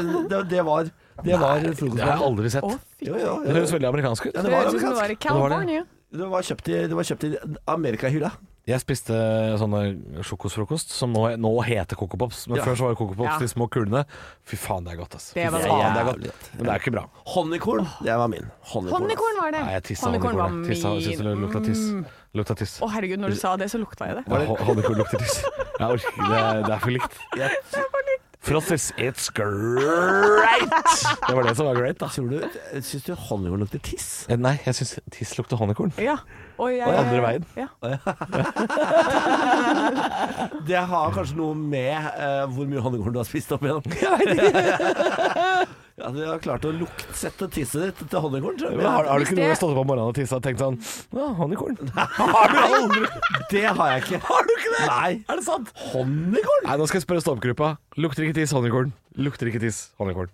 S4: det var Det var frokosten.
S5: Det har jeg aldri sett.
S4: Jo, jo, jo.
S5: Det høres veldig amerikansk ut.
S4: Ja, det var
S3: Høres ut som det var i
S4: amerikansk.
S3: California.
S4: Det var kjøpt i, det var kjøpt i Amerikahylla.
S5: Jeg spiste sånne sjokosfrokost, som nå, nå heter Coco Pops. Men
S4: Ja.
S5: før så var det Coco Pops,
S4: Ja.
S5: de små kulene. Fy faen, det er godt, ass. Fy
S4: Det var
S5: faen,
S4: godt.
S5: det er godt. Men det er ikke bra.
S4: Honningkorn, det var min. Honningkorn.
S3: Honningkorn var det.
S5: Nei, jeg tissa
S3: Honningkorn var
S5: honningkorn. jeg. Tissa, jeg synes det
S3: min.
S5: lukta tiss.
S3: Mm.
S5: Lukta tiss.
S3: Å herregud, når du sa det, så lukta jeg det.
S5: Ja, ho- Honningkorn lukter tiss. Jeg orker ikke, det er- det er for likt. Frosties, it's great! Det var det som var great, da.
S4: Syns du honningkorn lukter tiss?
S5: Nei, jeg syns tiss lukter honningkorn.
S3: Ja. Og jeg,
S5: Og andre veien.
S3: Ja.
S4: Det har kanskje noe med eh, hvor mye honningkorn du har spist opp igjennom. *laughs* ja, du har klart å luktsette tisset ditt til honningkorn, tror jeg.
S5: Men har, har du
S4: Hvis
S5: ikke
S4: det-
S5: noe stått opp om morgenen og tissa og tenkt sånn Ja, honningkorn.
S4: Har du aldri? Det har jeg ikke. Har du ikke det? Nei.
S5: Er det sant?
S4: Honningkorn?
S5: Nei, nå skal jeg spørre stå-opp-gruppa. Lukter ikke tiss honningkorn? Lukter ikke tiss honningkorn?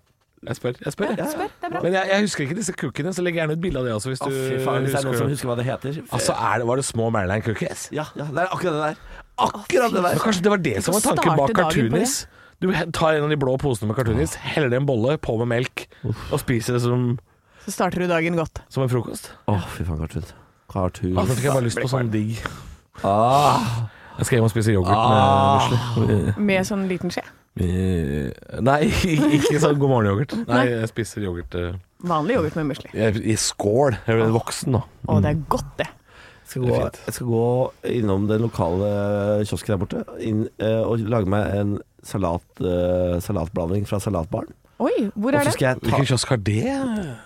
S5: Jeg spør. jeg spør,
S4: Ja,
S5: jeg.
S4: spør, det er bra.
S5: Men jeg, jeg husker ikke disse cookiene, så legg gjerne ut bilde av det også. Hvis du
S4: Å, fy faen, hvis det er noen som husker hva det heter.
S5: Altså, er det, Var det små Maryland cookies?
S4: Ja, ja, det er akkurat det der. Akkurat det der.
S5: Men kanskje det var det som var tanken bak cartoonis? Du tar en av de blå posene med cartoonis, heller det i en bolle, på med melk, og spiser det som,
S3: Så starter du dagen godt.
S5: som en frokost?
S4: Å, fy faen, cartoon. Cartoon.
S5: Altså, fikk jeg bare lyst på sånn digg
S4: Ah.
S5: Jeg skal hjem og spise yoghurt
S4: Ah.
S5: med rusle.
S3: Med sånn liten skje.
S5: Eh, Nei, *laughs* ikke sånn god morgen-yoghurt. Nei,
S3: Nei.
S5: jeg spiser yoghurt eh, Ah.
S3: Vanlig yoghurt med musli.
S5: jeg- i skål. Jeg er voksen nå.
S3: Å, det er godt, det.
S4: Jeg skal, gå, jeg skal gå innom den lokale kiosken der borte inn, eh, og lage meg en salat, eh, salatblanding fra salatbaren.
S3: Oi, hvor
S4: Og
S3: er
S4: så
S3: det?
S4: skal jeg ta-
S5: Hvilken kiosk har det?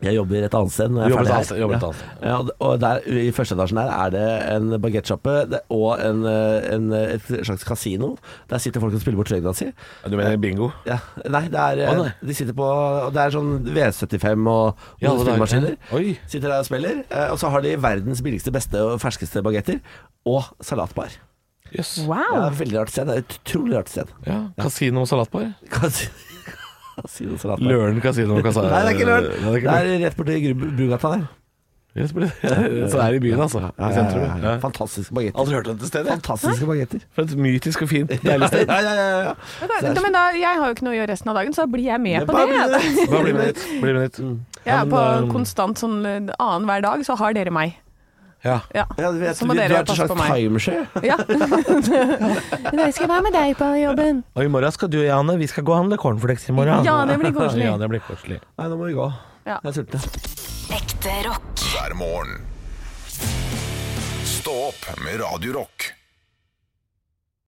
S4: Jeg jobber et annet sted. Når jeg
S5: Du jobber
S4: er
S5: et
S4: ferdig
S5: annet
S4: her.
S5: sted, jobber et annet
S4: Ja, og- og der, I første etasjen der er det en bagettsjappe det- og en, eh, en, eh, et slags kasino. Der sitter folk og spiller bort trøyna si.
S5: Du mener bingo?
S4: Ja. Nei, det er, eh,
S5: Å, nei.
S4: de sitter på og Det er sånn V75 og
S5: Ja,
S4: noen
S5: det er-
S4: spillemaskiner.
S5: Oi.
S4: Sitter der og spiller. eh, Og så har de verdens billigste, beste og ferskeste bagetter. Og salatbar.
S5: Jøss.
S4: Ja,
S3: Wow.
S4: veldig rart sted. Det er et utrolig rart sted.
S5: Ja, Kasino og salatbar?
S4: Kasi- Kasino og salatbar.
S5: Løren kasino og kasa...
S4: Nei, det er ikke Løren.
S5: Nei, altså, det er ikke Løren.
S4: Det er rett borti Gru- Brugata der.
S5: Yes, men- Så det er i byen, altså.
S4: Ja,
S5: I
S4: ja,
S5: sentrum.
S4: ja, ja. Fantastiske bagetter.
S5: Aldri hørt om dette stedet.
S4: Fantastiske bagetter.
S5: For et mytisk og fint, deilig
S4: *laughs*
S5: sted.
S4: Ja, ja, ja, ja.
S3: Men da- Men da, jeg har jo ikke noe å gjøre resten av dagen, så da blir jeg altså. med på
S4: Bare bli
S3: det.
S4: med.
S5: Bare bli med dit. Bli med dit.
S3: Ja,
S5: Ja, men,
S3: på
S5: eh,
S3: konstant sånn eh, annenhver dag, så har dere meg.
S5: Ja.
S3: Ja.
S4: Ja, du vet,
S3: Så må
S4: vi-
S3: dere
S4: du er et
S3: passe på
S4: slags
S3: meg.
S4: timeshare.
S3: *laughs* Ja. I dag skal jeg være med deg på jobben.
S5: Og i morgen skal du og Jane, vi skal gå og handle cornflakes i morgen.
S3: Ja, det blir koselig.
S5: *laughs* Ja, det blir koselig.
S4: Nei, nå må vi gå.
S3: Ja.
S4: Jeg er sulten.
S1: Ekte rock.
S2: hver morgen. Stå opp med Radio Rock.